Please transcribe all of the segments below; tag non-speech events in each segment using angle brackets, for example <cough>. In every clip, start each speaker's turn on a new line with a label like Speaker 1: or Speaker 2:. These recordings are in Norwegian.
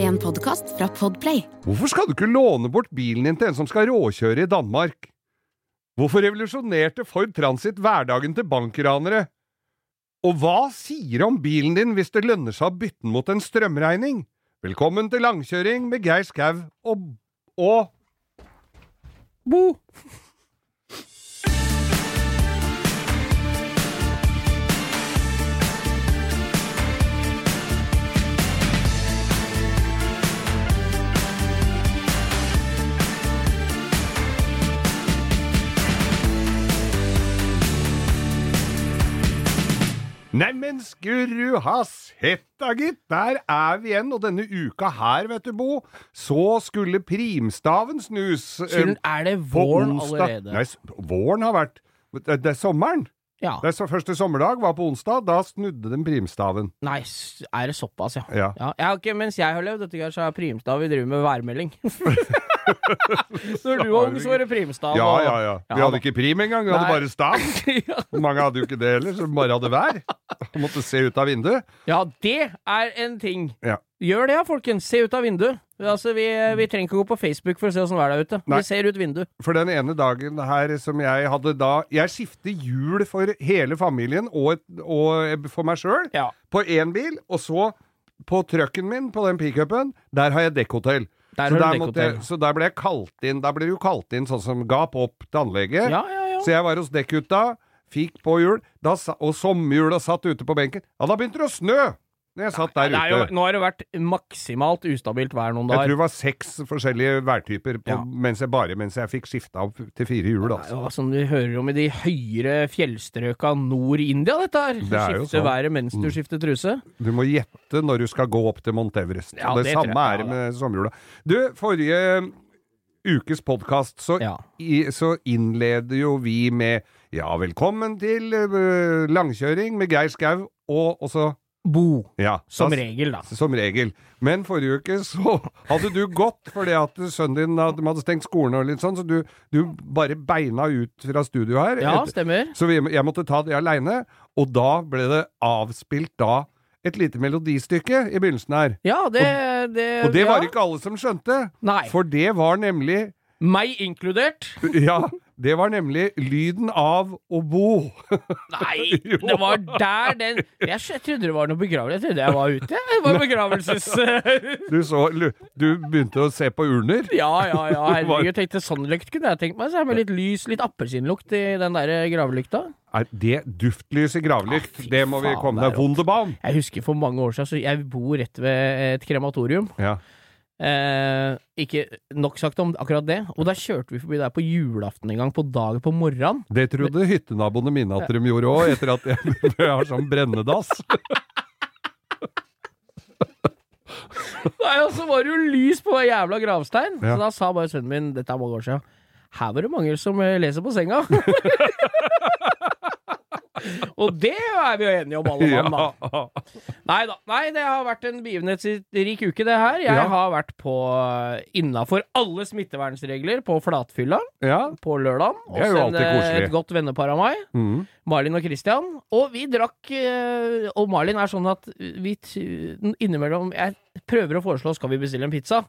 Speaker 1: En podkast fra Podplay.
Speaker 2: Hvorfor skal du ikke låne bort bilen din til en som skal råkjøre i Danmark? Hvorfor revolusjonerte Ford Transit hverdagen til bankranere? Og hva sier det om bilen din hvis det lønner seg å bytte den mot en strømregning? Velkommen til langkjøring med Geir Skau og og Bo! Neimen, skurru has hetta, gitt! Der er vi igjen, og denne uka her, vet du, Bo, så skulle primstaven snus. eh,
Speaker 3: Siden er det
Speaker 2: på
Speaker 3: våren
Speaker 2: onsdag.
Speaker 3: allerede.
Speaker 2: Nei, s- våren har vært Det, det er sommeren.
Speaker 3: Ja.
Speaker 2: Det er så, første sommerdag var på onsdag. Da snudde den primstaven.
Speaker 3: Nei, s- er det såpass, ja.
Speaker 2: Ja.
Speaker 3: Ja, jeg har ikke, mens jeg har levd dette, Geir, så har Primstad vi driver med
Speaker 2: <laughs>
Speaker 3: værmelding. <laughs> Når du var ung, så var det Primstad.
Speaker 2: Ja,
Speaker 3: og-
Speaker 2: ja, ja. Vi
Speaker 3: Ja,
Speaker 2: hadde ikke prim engang, vi hadde
Speaker 3: Nei.
Speaker 2: bare stav.
Speaker 3: ja.
Speaker 2: Mange hadde jo ikke det heller, som bare hadde vær. Og måtte se ut av vinduet.
Speaker 3: <laughs> ja, det er en ting.
Speaker 2: Ja.
Speaker 3: Gjør det, ja, folkens. Se ut av vinduet. Altså, vi, vi trenger ikke gå på Facebook for å se åssen været er ute.
Speaker 2: Nei.
Speaker 3: Vi ser ut vinduet.
Speaker 2: For den ene dagen her som jeg hadde da Jeg skifter hjul for hele familien og, et, og for meg sjøl
Speaker 3: Ja.
Speaker 2: på én bil, og så på trucken min, på den pickupen, der har jeg dekkhotell.
Speaker 3: Der
Speaker 2: så,
Speaker 3: har du
Speaker 2: der
Speaker 3: dekkhotell.
Speaker 2: jeg, så der ble jeg kalt inn Der ble du kalt inn sånn som gap opp til anlegget.
Speaker 3: Ja, ja, ja.
Speaker 2: Så jeg var hos dekkgutta, fikk på hjul, da, sa- og sommerhjula satt ute på benken. Ja, da begynte det å snø! Når jeg satt der
Speaker 3: Det er jo,
Speaker 2: ute.
Speaker 3: nå har det vært maksimalt ustabilt vær noen
Speaker 2: Jeg tror
Speaker 3: dager.
Speaker 2: det var seks forskjellige værtyper på,
Speaker 3: Ja.
Speaker 2: mens jeg bare mens jeg fikk skifta opp til fire hjul, altså.
Speaker 3: Ja, som du hører om i de høyere fjellstrøka nord i India, dette her.
Speaker 2: Det er jo
Speaker 3: Skifte
Speaker 2: sånn.
Speaker 3: været mens du skifter truse.
Speaker 2: Du må gjette når du skal gå opp til Mount Everest.
Speaker 3: Ja,
Speaker 2: Og det,
Speaker 3: det tror
Speaker 2: samme
Speaker 3: jeg.
Speaker 2: er det
Speaker 3: Ja,
Speaker 2: med sommerjula. Du, forrige um, ukes podkast så,
Speaker 3: Ja.
Speaker 2: i- så innleder jo vi med Ja, velkommen til eh, langkjøring med Geir Skau, og også
Speaker 3: Bo.
Speaker 2: Ja.
Speaker 3: Som
Speaker 2: da-
Speaker 3: regel, da.
Speaker 2: Som regel. Men forrige uke så hadde du gått fordi at sønnen din hadde, de hadde stengt skolen og litt sånn, så du, du bare beina ut fra studio her.
Speaker 3: Ja,
Speaker 2: Et-
Speaker 3: stemmer.
Speaker 2: så vi, jeg måtte ta det aleine, og da ble det avspilt da et lite melodistykke i begynnelsen her.
Speaker 3: Ja, det, det
Speaker 2: Og det
Speaker 3: ja.
Speaker 2: var ikke alle som skjønte,
Speaker 3: Nei.
Speaker 2: for det var nemlig
Speaker 3: Meg inkludert.
Speaker 2: Ja, det var nemlig lyden av å bo. <laughs>
Speaker 3: Nei, det var der den Jeg, skj- jeg trodde det var noe begravelse. Jeg trodde jeg var ute. Det var begravelses...
Speaker 2: <laughs> Du så lu- Du begynte å se på urner.
Speaker 3: Ja, ja, ja. Herregud, jeg tenkte sånn lykt kunne jeg tenkt meg. Så jeg med litt lys, litt appelsinlukt i den der eh, gravelykta.
Speaker 2: Er det duftlys i gravlykt?
Speaker 3: Ah, fy
Speaker 2: det må vi
Speaker 3: faen,
Speaker 2: komme
Speaker 3: det
Speaker 2: med.
Speaker 3: er
Speaker 2: Wunderbaum!
Speaker 3: Jeg husker for mange år siden, så jeg bor rett ved et krematorium.
Speaker 2: Ja.
Speaker 3: Eh, ikke nok sagt om akkurat det. Og der kjørte vi forbi der på julaften en gang, på dagen på morgenen.
Speaker 2: Det trodde hyttenaboene mine at de gjorde òg, etter at jeg, <laughs> jeg har sånn brennedass.
Speaker 3: Nei, og så var det jo lys på hver jævla gravstein.
Speaker 2: Ja.
Speaker 3: Så da sa bare sønnen min, dette er mange år siden, her var det mange som eh, leser på senga. <laughs> og det er vi jo enige om, alle mann, da.
Speaker 2: Ja.
Speaker 3: Nei da. Nei, det har vært en begivenhetsrik uke, det her. Jeg
Speaker 2: Ja.
Speaker 3: har vært på innafor alle smittevernregler på Flatfylla
Speaker 2: ja.
Speaker 3: på lørdag.
Speaker 2: Det er jo alltid koselig.
Speaker 3: eh, et godt vennepar av meg.
Speaker 2: Mm.
Speaker 3: Malin og Christian. Og vi drakk eh, Og Malin er sånn at vi t- innimellom Jeg prøver å foreslå skal vi bestille en pizza.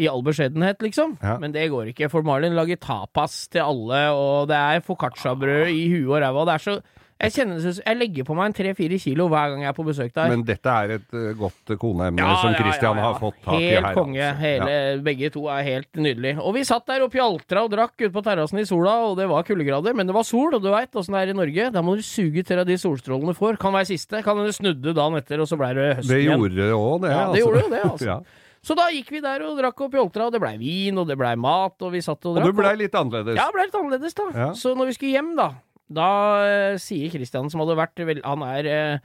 Speaker 3: I all beskjedenhet, liksom.
Speaker 2: Ja.
Speaker 3: Men det går ikke, for Malin lager tapas til alle, og det er foccacciabrød i huet og ræva. og Det er så Jeg kjenner det Jeg legger på meg en tre-fire kilo hver gang jeg er på besøk der.
Speaker 2: Men dette er et eh, godt koneemne som Christian
Speaker 3: ja, ja.
Speaker 2: har fått tak i her.
Speaker 3: Helt konge.
Speaker 2: altså.
Speaker 3: Hele, Begge to er helt nydelige. Og vi satt der og pjaltra og drakk ute på terrassen i sola, og det var kuldegrader, men det var sol, og du veit åssen det er i Norge. Da må du suge til deg de solstrålene du får. Kan være siste. Kan hende snudde dagen etter, og så blei det
Speaker 2: Ja.
Speaker 3: høsten
Speaker 2: Det
Speaker 3: igjen.
Speaker 2: gjorde det òg, det.
Speaker 3: Ja, det gjorde jo det, altså.
Speaker 2: Ja.
Speaker 3: Så da gikk vi der og drakk og pjoltra, og det blei vin, og det blei mat, og vi satt og
Speaker 2: Og
Speaker 3: drakk.
Speaker 2: du blei litt annerledes.
Speaker 3: Ja, det ble litt annerledes, da.
Speaker 2: Ja.
Speaker 3: Så når vi skulle hjem, da, da eh, sier Christian, som hadde vært vel, Han er eh,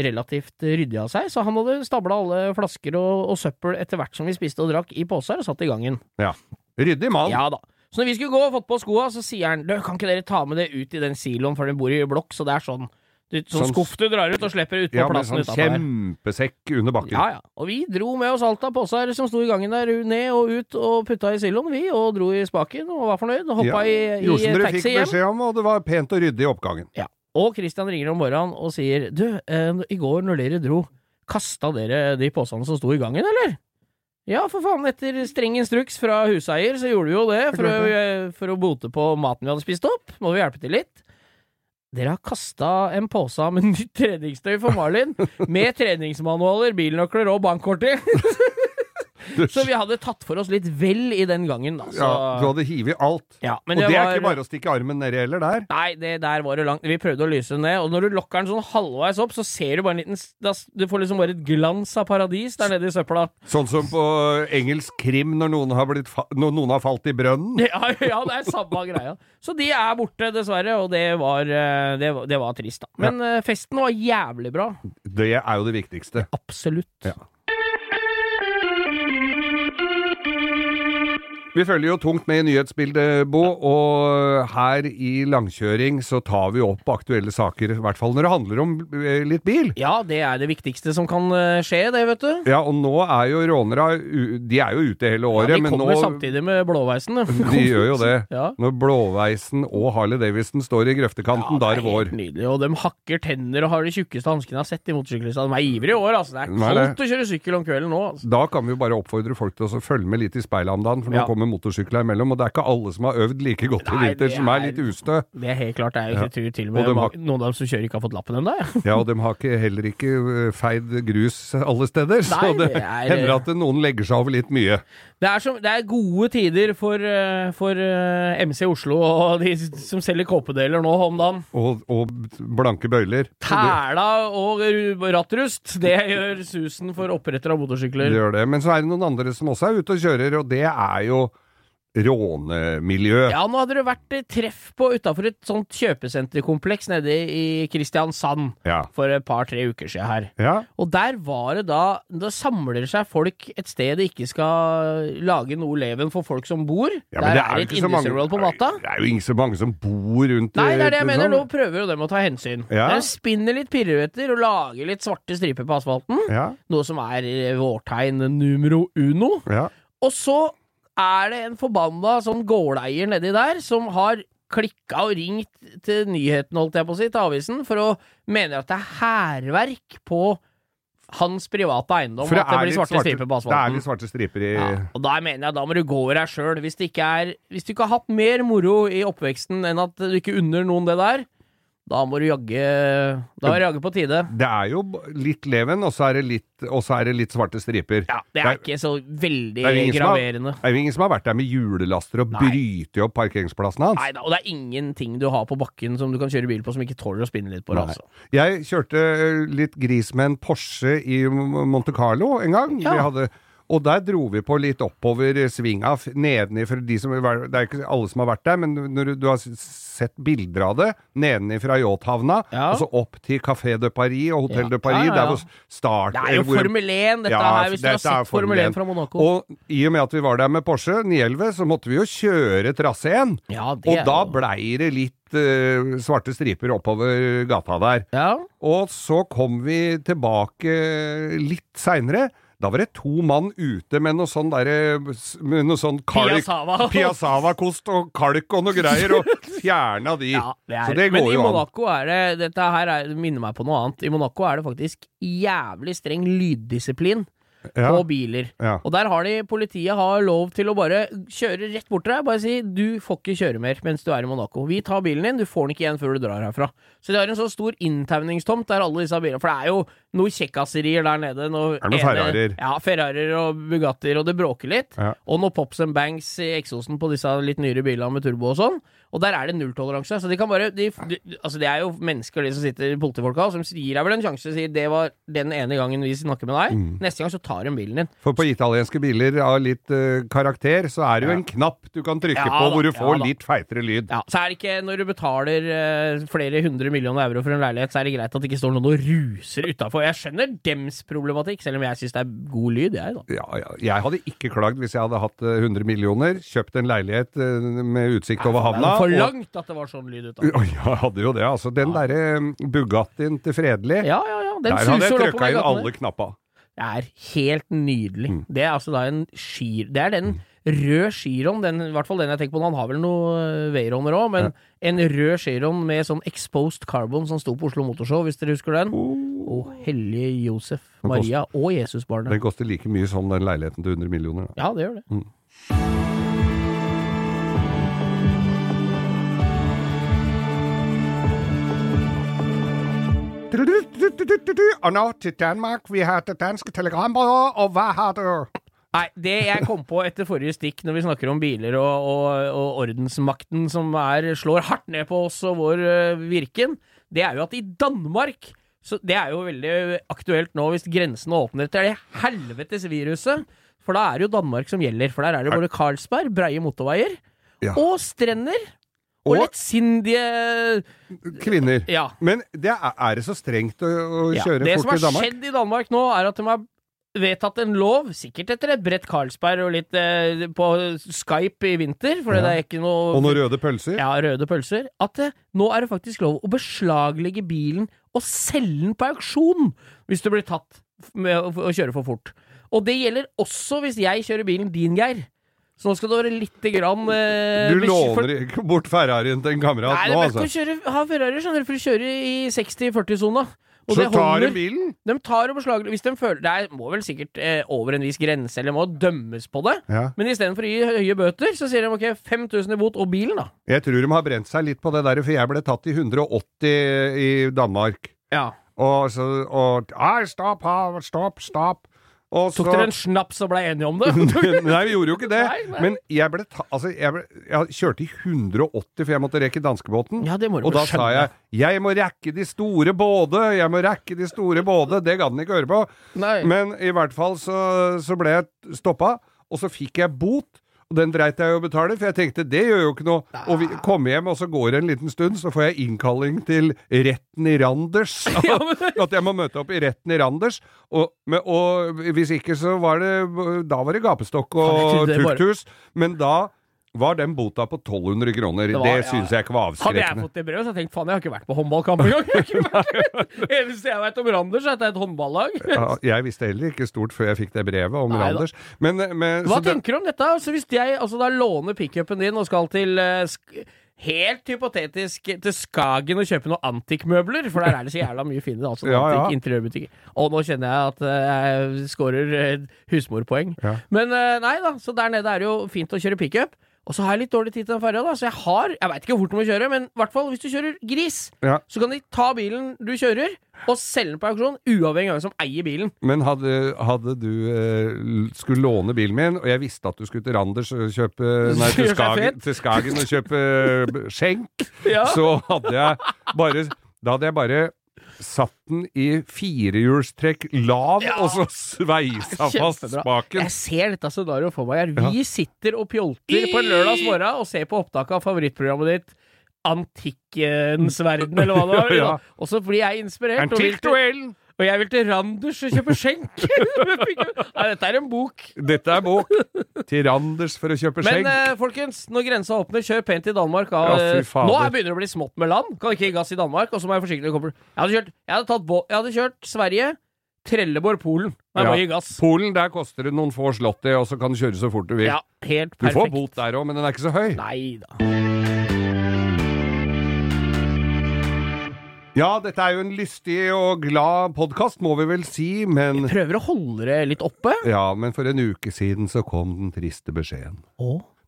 Speaker 3: relativt ryddig av seg, så han hadde stabla alle flasker og, og søppel etter hvert som vi spiste og drakk, i poser og satt i gangen.
Speaker 2: Ryddig mann.
Speaker 3: Ja da. Så når vi skulle gå og fått på skoa, så sier han «Du, kan ikke dere ta med det ut i den siloen, for den bor i blokk, så det er sånn du, Sånn
Speaker 2: Sånn-
Speaker 3: skuff du drar ut og slipper ut på
Speaker 2: Ja, med
Speaker 3: plassen
Speaker 2: sånn
Speaker 3: utafor.
Speaker 2: kjempesekk under bakken.
Speaker 3: Ja, ja. Og vi dro med oss alt av poser som sto i gangen der, ned og ut, og putta i siloen, vi, og dro i spaken, og var fornøyd, og hoppa i,
Speaker 2: Gjorde som
Speaker 3: i
Speaker 2: dere fikk
Speaker 3: taxi hjem.
Speaker 2: beskjed om, og det var pent og ryddig i oppgangen.
Speaker 3: Og Christian ringer om morgenen og sier Du, eh, i går når dere dro, kasta dere de posene som sto i gangen, eller? Ja, for faen, etter streng instruks fra huseier, så gjorde vi jo det for å, eh, for å bote på maten vi hadde spist opp. Må vi hjelpe til litt? Dere har kasta en pose med nytt treningstøy for Marlin,
Speaker 2: <laughs>
Speaker 3: med treningsmanualer, bilnøkler og bankkort i.
Speaker 2: Du,
Speaker 3: <laughs> Så vi hadde tatt for oss litt vel i den gangen, da. Så,
Speaker 2: ja, du hadde hivet alt.
Speaker 3: ja, men
Speaker 2: Og det er
Speaker 3: var-
Speaker 2: ikke bare å stikke armen nedi heller der.
Speaker 3: Nei, det der var det langt. Vi prøvde å lyse den ned, og når du lokker den sånn halvveis opp, så ser du bare en liten s- da s- Du får liksom bare et glans av paradis der nede i
Speaker 2: <laughs>
Speaker 3: søpla.
Speaker 2: Sånn som på engelsk krim når noen har, blitt fa når noen har falt i brønnen.
Speaker 3: Ja, ja, det er samme greia. Så de er borte, dessverre, og det var, eh, det var, det var trist, da. Men eh, festen var jævlig bra.
Speaker 2: Det er jo det viktigste.
Speaker 3: Absolutt.
Speaker 2: Ja. Vi følger jo tungt med i nyhetsbildet, Bo, og her i langkjøring så tar vi opp aktuelle saker, i hvert fall når det handler om eh, litt bil.
Speaker 3: Ja, det er det viktigste som kan eh, skje, det, vet du.
Speaker 2: Ja, og nå er jo rånere u- De er jo ute hele
Speaker 3: Ja,
Speaker 2: året,
Speaker 3: de
Speaker 2: men
Speaker 3: kommer
Speaker 2: nå
Speaker 3: samtidig med blåveisen.
Speaker 2: De gjør
Speaker 3: <laughs>
Speaker 2: jo det.
Speaker 3: Ja.
Speaker 2: Når Blåveisen og Harley Davidson står i grøftekanten, da er det vår.
Speaker 3: helt nydelig, og de hakker tenner og har de tjukkeste hanskene jeg har sett i motorsykkelista. De er ivrige i år, altså. Det er
Speaker 2: Nei, det-
Speaker 3: kaldt å kjøre sykkel om kvelden nå, altså.
Speaker 2: Da kan vi jo bare oppfordre folk til å følge med litt i speilet om dagen, for nå
Speaker 3: Ja.
Speaker 2: kommer motorsykler imellom, og det er ikke alle som har øvd like godt i
Speaker 3: Nei,
Speaker 2: vinter,
Speaker 3: det
Speaker 2: som er
Speaker 3: er-
Speaker 2: litt ustø.
Speaker 3: Det er helt klart. Det er jo ikke tur til og
Speaker 2: Og
Speaker 3: med
Speaker 2: de har-
Speaker 3: ma- noen av dem som kjører ikke har fått lappen ennå. Ja.
Speaker 2: Ja, og de har ikke, heller ikke øh, feid grus alle steder, så
Speaker 3: Nei,
Speaker 2: det,
Speaker 3: det er- eh,
Speaker 2: hender at noen legger seg over litt mye.
Speaker 3: Det, er som- det er gode tider for, eh, for eh, MC Oslo og de s- som selger kåpedeler nå om dagen.
Speaker 2: Og, og blanke bøyler. Så det-
Speaker 3: Tæla og ru- rattrust, det gjør susen for oppretter av
Speaker 2: det
Speaker 3: motorsykler.
Speaker 2: gjør det. Men så er det noen andre som også er ute og kjører, og det er jo rånemiljø.
Speaker 3: Ja, nå hadde det vært eh, treff på utafor et sånt kjøpesenterkompleks nede i Kristiansand
Speaker 2: Ja.
Speaker 3: for et par-tre uker siden her.
Speaker 2: ja.
Speaker 3: Og der var det da Da samler seg folk et sted det ikke skal lage noe leven for folk som bor.
Speaker 2: Ja, men
Speaker 3: der
Speaker 2: jo
Speaker 3: er det
Speaker 2: ikke
Speaker 3: et
Speaker 2: så mange-
Speaker 3: industrial på natta.
Speaker 2: Det er jo ikke så mange som bor rundt
Speaker 3: Nei, det er det jeg
Speaker 2: eh,
Speaker 3: mener. Nå
Speaker 2: sånn.
Speaker 3: prøver jo dem å ta hensyn.
Speaker 2: Ja.
Speaker 3: De spinner litt piruetter og lager litt svarte striper på asfalten,
Speaker 2: Ja,
Speaker 3: noe som er eh, vårtegn numero uno.
Speaker 2: ja.
Speaker 3: Og så er det en forbanna sånn gårdeier nedi der som har klikka og ringt til nyheten, holdt jeg på å si, til avisen, for å mene at det er hærverk på hans private eiendom, at det blir
Speaker 2: litt
Speaker 3: svarte striper på
Speaker 2: det er
Speaker 3: asfalten.
Speaker 2: litt svarte striper i
Speaker 3: Ja, og da mener jeg da må du gå over deg sjøl. Hvis, det ikke er- hvis du ikke har hatt mer moro i oppveksten enn at du ikke unner noen det der, da må du jagge Da er det jaggu på tide.
Speaker 2: Det er jo b- litt leven, og så er det litt, og så er det litt svarte striper.
Speaker 3: Ja, det er ikke så veldig
Speaker 2: det er jo ingen som har-
Speaker 3: graverende.
Speaker 2: Det er jo ingen som har vært der med julelaster og
Speaker 3: Nei.
Speaker 2: bryter opp parkeringsplassen hans.
Speaker 3: Nei da, og det er ingenting du har på bakken som du kan kjøre bil på som ikke tåler å spinne litt på. det,
Speaker 2: Nei.
Speaker 3: Altså.
Speaker 2: Jeg kjørte eh, litt gris med en Porsche i M- Monte Carlo en gang.
Speaker 3: Ja.
Speaker 2: Vi hadde, og der dro vi på litt oppover eh, svinga, f- nedenifra de som Det er ikke alle som har vært der, men når du, du har s- sett bilder av det, nedenifra yachthavna,
Speaker 3: Ja.
Speaker 2: og så opp til Café de Paris og Hotell
Speaker 3: Ja.
Speaker 2: de Paris,
Speaker 3: Ja, ja, ja.
Speaker 2: der hvor s- start
Speaker 3: Det er jo
Speaker 2: Eh, hvor-
Speaker 3: Formel 1, dette
Speaker 2: Ja,
Speaker 3: her, hvis du har
Speaker 2: dette er
Speaker 3: sett Formel 1 fra Monaco.
Speaker 2: Og i og med at vi var der med Porsche 911, så måtte vi jo kjøre traseen.
Speaker 3: ja, det
Speaker 2: Og
Speaker 3: er
Speaker 2: da
Speaker 3: jo-
Speaker 2: blei det litt eh, svarte striper oppover gata der.
Speaker 3: ja.
Speaker 2: Og så kom vi tilbake litt seinere. Da var det to mann ute med noe sånn derre Med noe sånn kalk
Speaker 3: Piazzava. <laughs>
Speaker 2: Piazzava-kost og kalk og noe greier, og fjerna de.
Speaker 3: Ja, det er,
Speaker 2: så det
Speaker 3: men
Speaker 2: går
Speaker 3: i
Speaker 2: jo an.
Speaker 3: Monaco er det Dette her er, det minner meg på noe annet. I Monaco er det faktisk jævlig streng lyddisiplin
Speaker 2: Ja,
Speaker 3: på biler.
Speaker 2: ja.
Speaker 3: Og der har de Politiet har lov til å bare kjøre rett bort til deg. Bare si 'du får ikke kjøre mer mens du er i Monaco'. Vi tar bilen din, du får den ikke igjen før du drar herfra. Så de har en så stor inntauningstomt der alle disse bilene For det er jo noen kjekkaserier der nede. Noe
Speaker 2: Er det noen Ferrarier?
Speaker 3: Ja, Ferrarier og Bugattier, og det bråker litt.
Speaker 2: Ja.
Speaker 3: Og noe Pops and Bangs i eksosen på disse litt nyere bilene med turbo og sånn. Og der er det nulltoleranse. Så de kan bare de, de, Altså, det er jo mennesker, de som sitter politifolka, som gir deg vel en sjanse og sier 'det var den ene gangen vi snakker med deg',
Speaker 2: Mm.
Speaker 3: neste gang så tar de bilen din.
Speaker 2: For på italienske biler av litt eh, karakter, så er det jo
Speaker 3: Ja.
Speaker 2: en knapp du kan trykke
Speaker 3: Ja
Speaker 2: på
Speaker 3: da,
Speaker 2: hvor du
Speaker 3: ja
Speaker 2: får
Speaker 3: da.
Speaker 2: litt feitere lyd.
Speaker 3: Ja, så er det ikke Når du betaler eh, flere hundre millioner euro for en leilighet, så er det greit at det ikke står noen og ruser utafor. Jeg skjønner dems problematikk, selv om jeg syns det er god lyd, jeg, da.
Speaker 2: Ja, ja. Jeg hadde ikke klagd hvis jeg hadde hatt eh, 100 millioner, kjøpt en leilighet eh, med utsikt over
Speaker 3: det
Speaker 2: havna.
Speaker 3: er for
Speaker 2: og-
Speaker 3: langt at det var sånn lyd utafor.
Speaker 2: Å, Ja, jeg hadde jo det, altså. Den derre eh, Bugattien til Fredelig,
Speaker 3: Ja, ja, ja. Den
Speaker 2: der hadde jeg
Speaker 3: suser
Speaker 2: trykka
Speaker 3: oppover
Speaker 2: inn
Speaker 3: gaten.
Speaker 2: alle knappa.
Speaker 3: der. Det er helt nydelig.
Speaker 2: Mm.
Speaker 3: Det er altså da en skir... Det er den rød giron, den, i hvert fall den jeg tenker på, nå. han har vel noe eh, veironer òg, men en rød giron med sånn exposed carbon som sto på Oslo Motorshow, hvis dere husker
Speaker 2: Oh.
Speaker 3: den. Å, hellige Josef,
Speaker 2: Den
Speaker 3: Maria og Jesusbarnet.
Speaker 2: Den koster like mye som den leiligheten til 100 millioner. Da.
Speaker 3: Ja, det gjør det.
Speaker 2: Og nå til Danmark. Vi har det danske telegrambyrået, og hva har du?
Speaker 3: Nei, det jeg kom på etter forrige stikk, når vi snakker om biler og, og, og ordensmakten som er, slår hardt ned på oss og vår eh, virken, det er jo at i Danmark så Det er jo veldig aktuelt nå hvis grensene åpner etter det helvetes viruset. For da er det jo Danmark som gjelder. For der er det både Carlsberg, breie motorveier,
Speaker 2: Ja.
Speaker 3: og strender. Og,
Speaker 2: Og-
Speaker 3: lettsindige
Speaker 2: Kvinner.
Speaker 3: Ja.
Speaker 2: Men det er, er det så strengt å, å
Speaker 3: Ja,
Speaker 2: kjøre
Speaker 3: det som
Speaker 2: fort i
Speaker 3: har
Speaker 2: Danmark?
Speaker 3: skjedd i Danmark nå, er at de har vedtatt en lov, sikkert etter et Brett Carlsberg og litt eh, på Skype i vinter, for
Speaker 2: Ja.
Speaker 3: det er ikke noe
Speaker 2: Og noen røde pølser?
Speaker 3: ja, røde pølser, at eh, nå er det faktisk lov å beslaglegge bilen og selge den på auksjon hvis du blir tatt f- med å, å kjøre for fort. Og det gjelder også hvis jeg kjører bilen din, Geir. Så nå skal du være lite grann eh,
Speaker 2: Du
Speaker 3: bes- for-
Speaker 2: låner ikke bort Ferrarien til en kamerat
Speaker 3: Nei, det
Speaker 2: nå,
Speaker 3: er best
Speaker 2: altså?
Speaker 3: å kjøre, ha Ferrari, skjønner du, for å kjøre i 60-40-sona. Og
Speaker 2: Så
Speaker 3: det
Speaker 2: tar
Speaker 3: holder.
Speaker 2: du bilen?
Speaker 3: De tar og beslaglegger Hvis de føler Det er, må vel sikkert eh, over en viss grense, eller må dømmes på det.
Speaker 2: Ja.
Speaker 3: Men istedenfor å gi høye bøter, så sier de ok, 5000 i bot og bilen, da.
Speaker 2: Jeg tror de har brent seg litt på det der, for jeg ble tatt i 180 i Danmark.
Speaker 3: Ja.
Speaker 2: Og så og, Hei, stopp, ha, stopp, stopp. Og
Speaker 3: Tok dere en snaps og blei enige om det?
Speaker 2: <laughs> Nei, vi gjorde jo ikke det.
Speaker 3: Nei, nei.
Speaker 2: Men jeg ble ta... Altså, jeg, ble, jeg kjørte i 180, for jeg måtte rekke danskebåten.
Speaker 3: ja, det må du
Speaker 2: Og da
Speaker 3: vel
Speaker 2: sa
Speaker 3: skjønne.
Speaker 2: jeg 'jeg må rekke de store både', 'jeg må rekke de store både'. Det gadd han ikke høre på.
Speaker 3: Nei.
Speaker 2: Men i hvert fall så, så ble jeg stoppa, og så fikk jeg bot. Og den dreit jeg i å betale, for jeg tenkte det gjør jo ikke noe. Og vi kom hjem, og så går det en liten stund, så får jeg innkalling til retten i Randers.
Speaker 3: <laughs> Ja, men-
Speaker 2: <laughs> At jeg må møte opp i retten i Randers. Og, men- og hvis ikke, så var det Da var det gapestokk
Speaker 3: Faen, jeg
Speaker 2: og
Speaker 3: trodde det bare-
Speaker 2: tukthus. Men da var den bota på 1200 kroner. Det,
Speaker 3: var- ja.
Speaker 2: syns jeg ikke var
Speaker 3: Hadde jeg
Speaker 2: avskrekkende.
Speaker 3: fått det brevet, så hadde jeg tenkt faen, jeg har ikke vært på håndballkamp engang. <laughs> Jeg har ikke vært- Det eneste jeg veit om Randers, er at det er et håndballag.
Speaker 2: Ja, Jeg visste heller ikke stort før jeg fikk det brevet om
Speaker 3: Nei da.
Speaker 2: Randers. Men, eh, men,
Speaker 3: Hva
Speaker 2: så det-
Speaker 3: tenker du om dette? Altså, hvis jeg altså, da låner pickupen din og skal til eh, sk Helt hypotetisk til Skagen og kjøpe noen antikkmøbler, for der er det så jævla mye fine altså,
Speaker 2: Ja, ja.
Speaker 3: antikk- interiørbutikker. Og nå kjenner jeg at eh, jeg scorer eh, husmorpoeng.
Speaker 2: Ja.
Speaker 3: Men eh, nei da, så der nede er det jo fint å kjøre pickup. Og så har jeg litt dårlig tid til den ferja, da, så jeg har Jeg veit ikke hvor fort du må kjøre, men i hvert fall hvis du kjører gris,
Speaker 2: Ja.
Speaker 3: så kan de ta bilen du kjører, og selge den på auksjon, uavhengig av hvem som eier bilen.
Speaker 2: Men hadde, hadde du eh, l- skulle låne bilen min, og jeg visste at du skulle til Randers og kjøpe
Speaker 3: <laughs>
Speaker 2: Nei, til
Speaker 3: Gjøre deg
Speaker 2: Skagen,
Speaker 3: fet.
Speaker 2: til Skagen og kjøpe eh, b- skjenk,
Speaker 3: Ja.
Speaker 2: så hadde jeg bare Da hadde jeg bare satt den i firehjulstrekk lav,
Speaker 3: Ja.
Speaker 2: og så sveisa fast
Speaker 3: Kjempebra.
Speaker 2: spaken.
Speaker 3: Jeg ser dette scenarioet for meg. Her. Vi sitter og pjolter på en lørdags morgen og ser på opptaket av favorittprogrammet ditt. Antikkens verden, eller hva det var.
Speaker 2: <laughs> Ja.
Speaker 3: Og så blir jeg inspirert. Og, vil til,
Speaker 2: Antikkduell!
Speaker 3: og jeg vil til Randers og kjøpe skjenk! <laughs> Nei, dette er en bok.
Speaker 2: Dette er bok. Til Randers for å kjøpe
Speaker 3: Men
Speaker 2: skjenk.
Speaker 3: eh, folkens, når grensa åpner, kjør pent i Danmark. Av,
Speaker 2: Ja, fy fader.
Speaker 3: nå er- begynner det å bli smått med land. Kan ikke gi gass i Danmark. Og så må jeg forsiktig komme jeg hadde, kjørt, jeg, hadde tatt bå- jeg hadde kjørt Sverige, Trelleborg, Polen. Nei,
Speaker 2: Ja.
Speaker 3: må gi gass.
Speaker 2: Polen, der koster det noen få slott i, og så kan du kjøre så fort du vil.
Speaker 3: Ja, helt
Speaker 2: du får
Speaker 3: perfekt.
Speaker 2: bot der òg, men den er ikke så høy.
Speaker 3: Nei da.
Speaker 2: Ja, dette er jo en lystig og glad podkast, må vi vel si, men
Speaker 3: <laughs> prøver å holde det litt oppe.
Speaker 2: Ja, men for en uke siden så kom den triste beskjeden.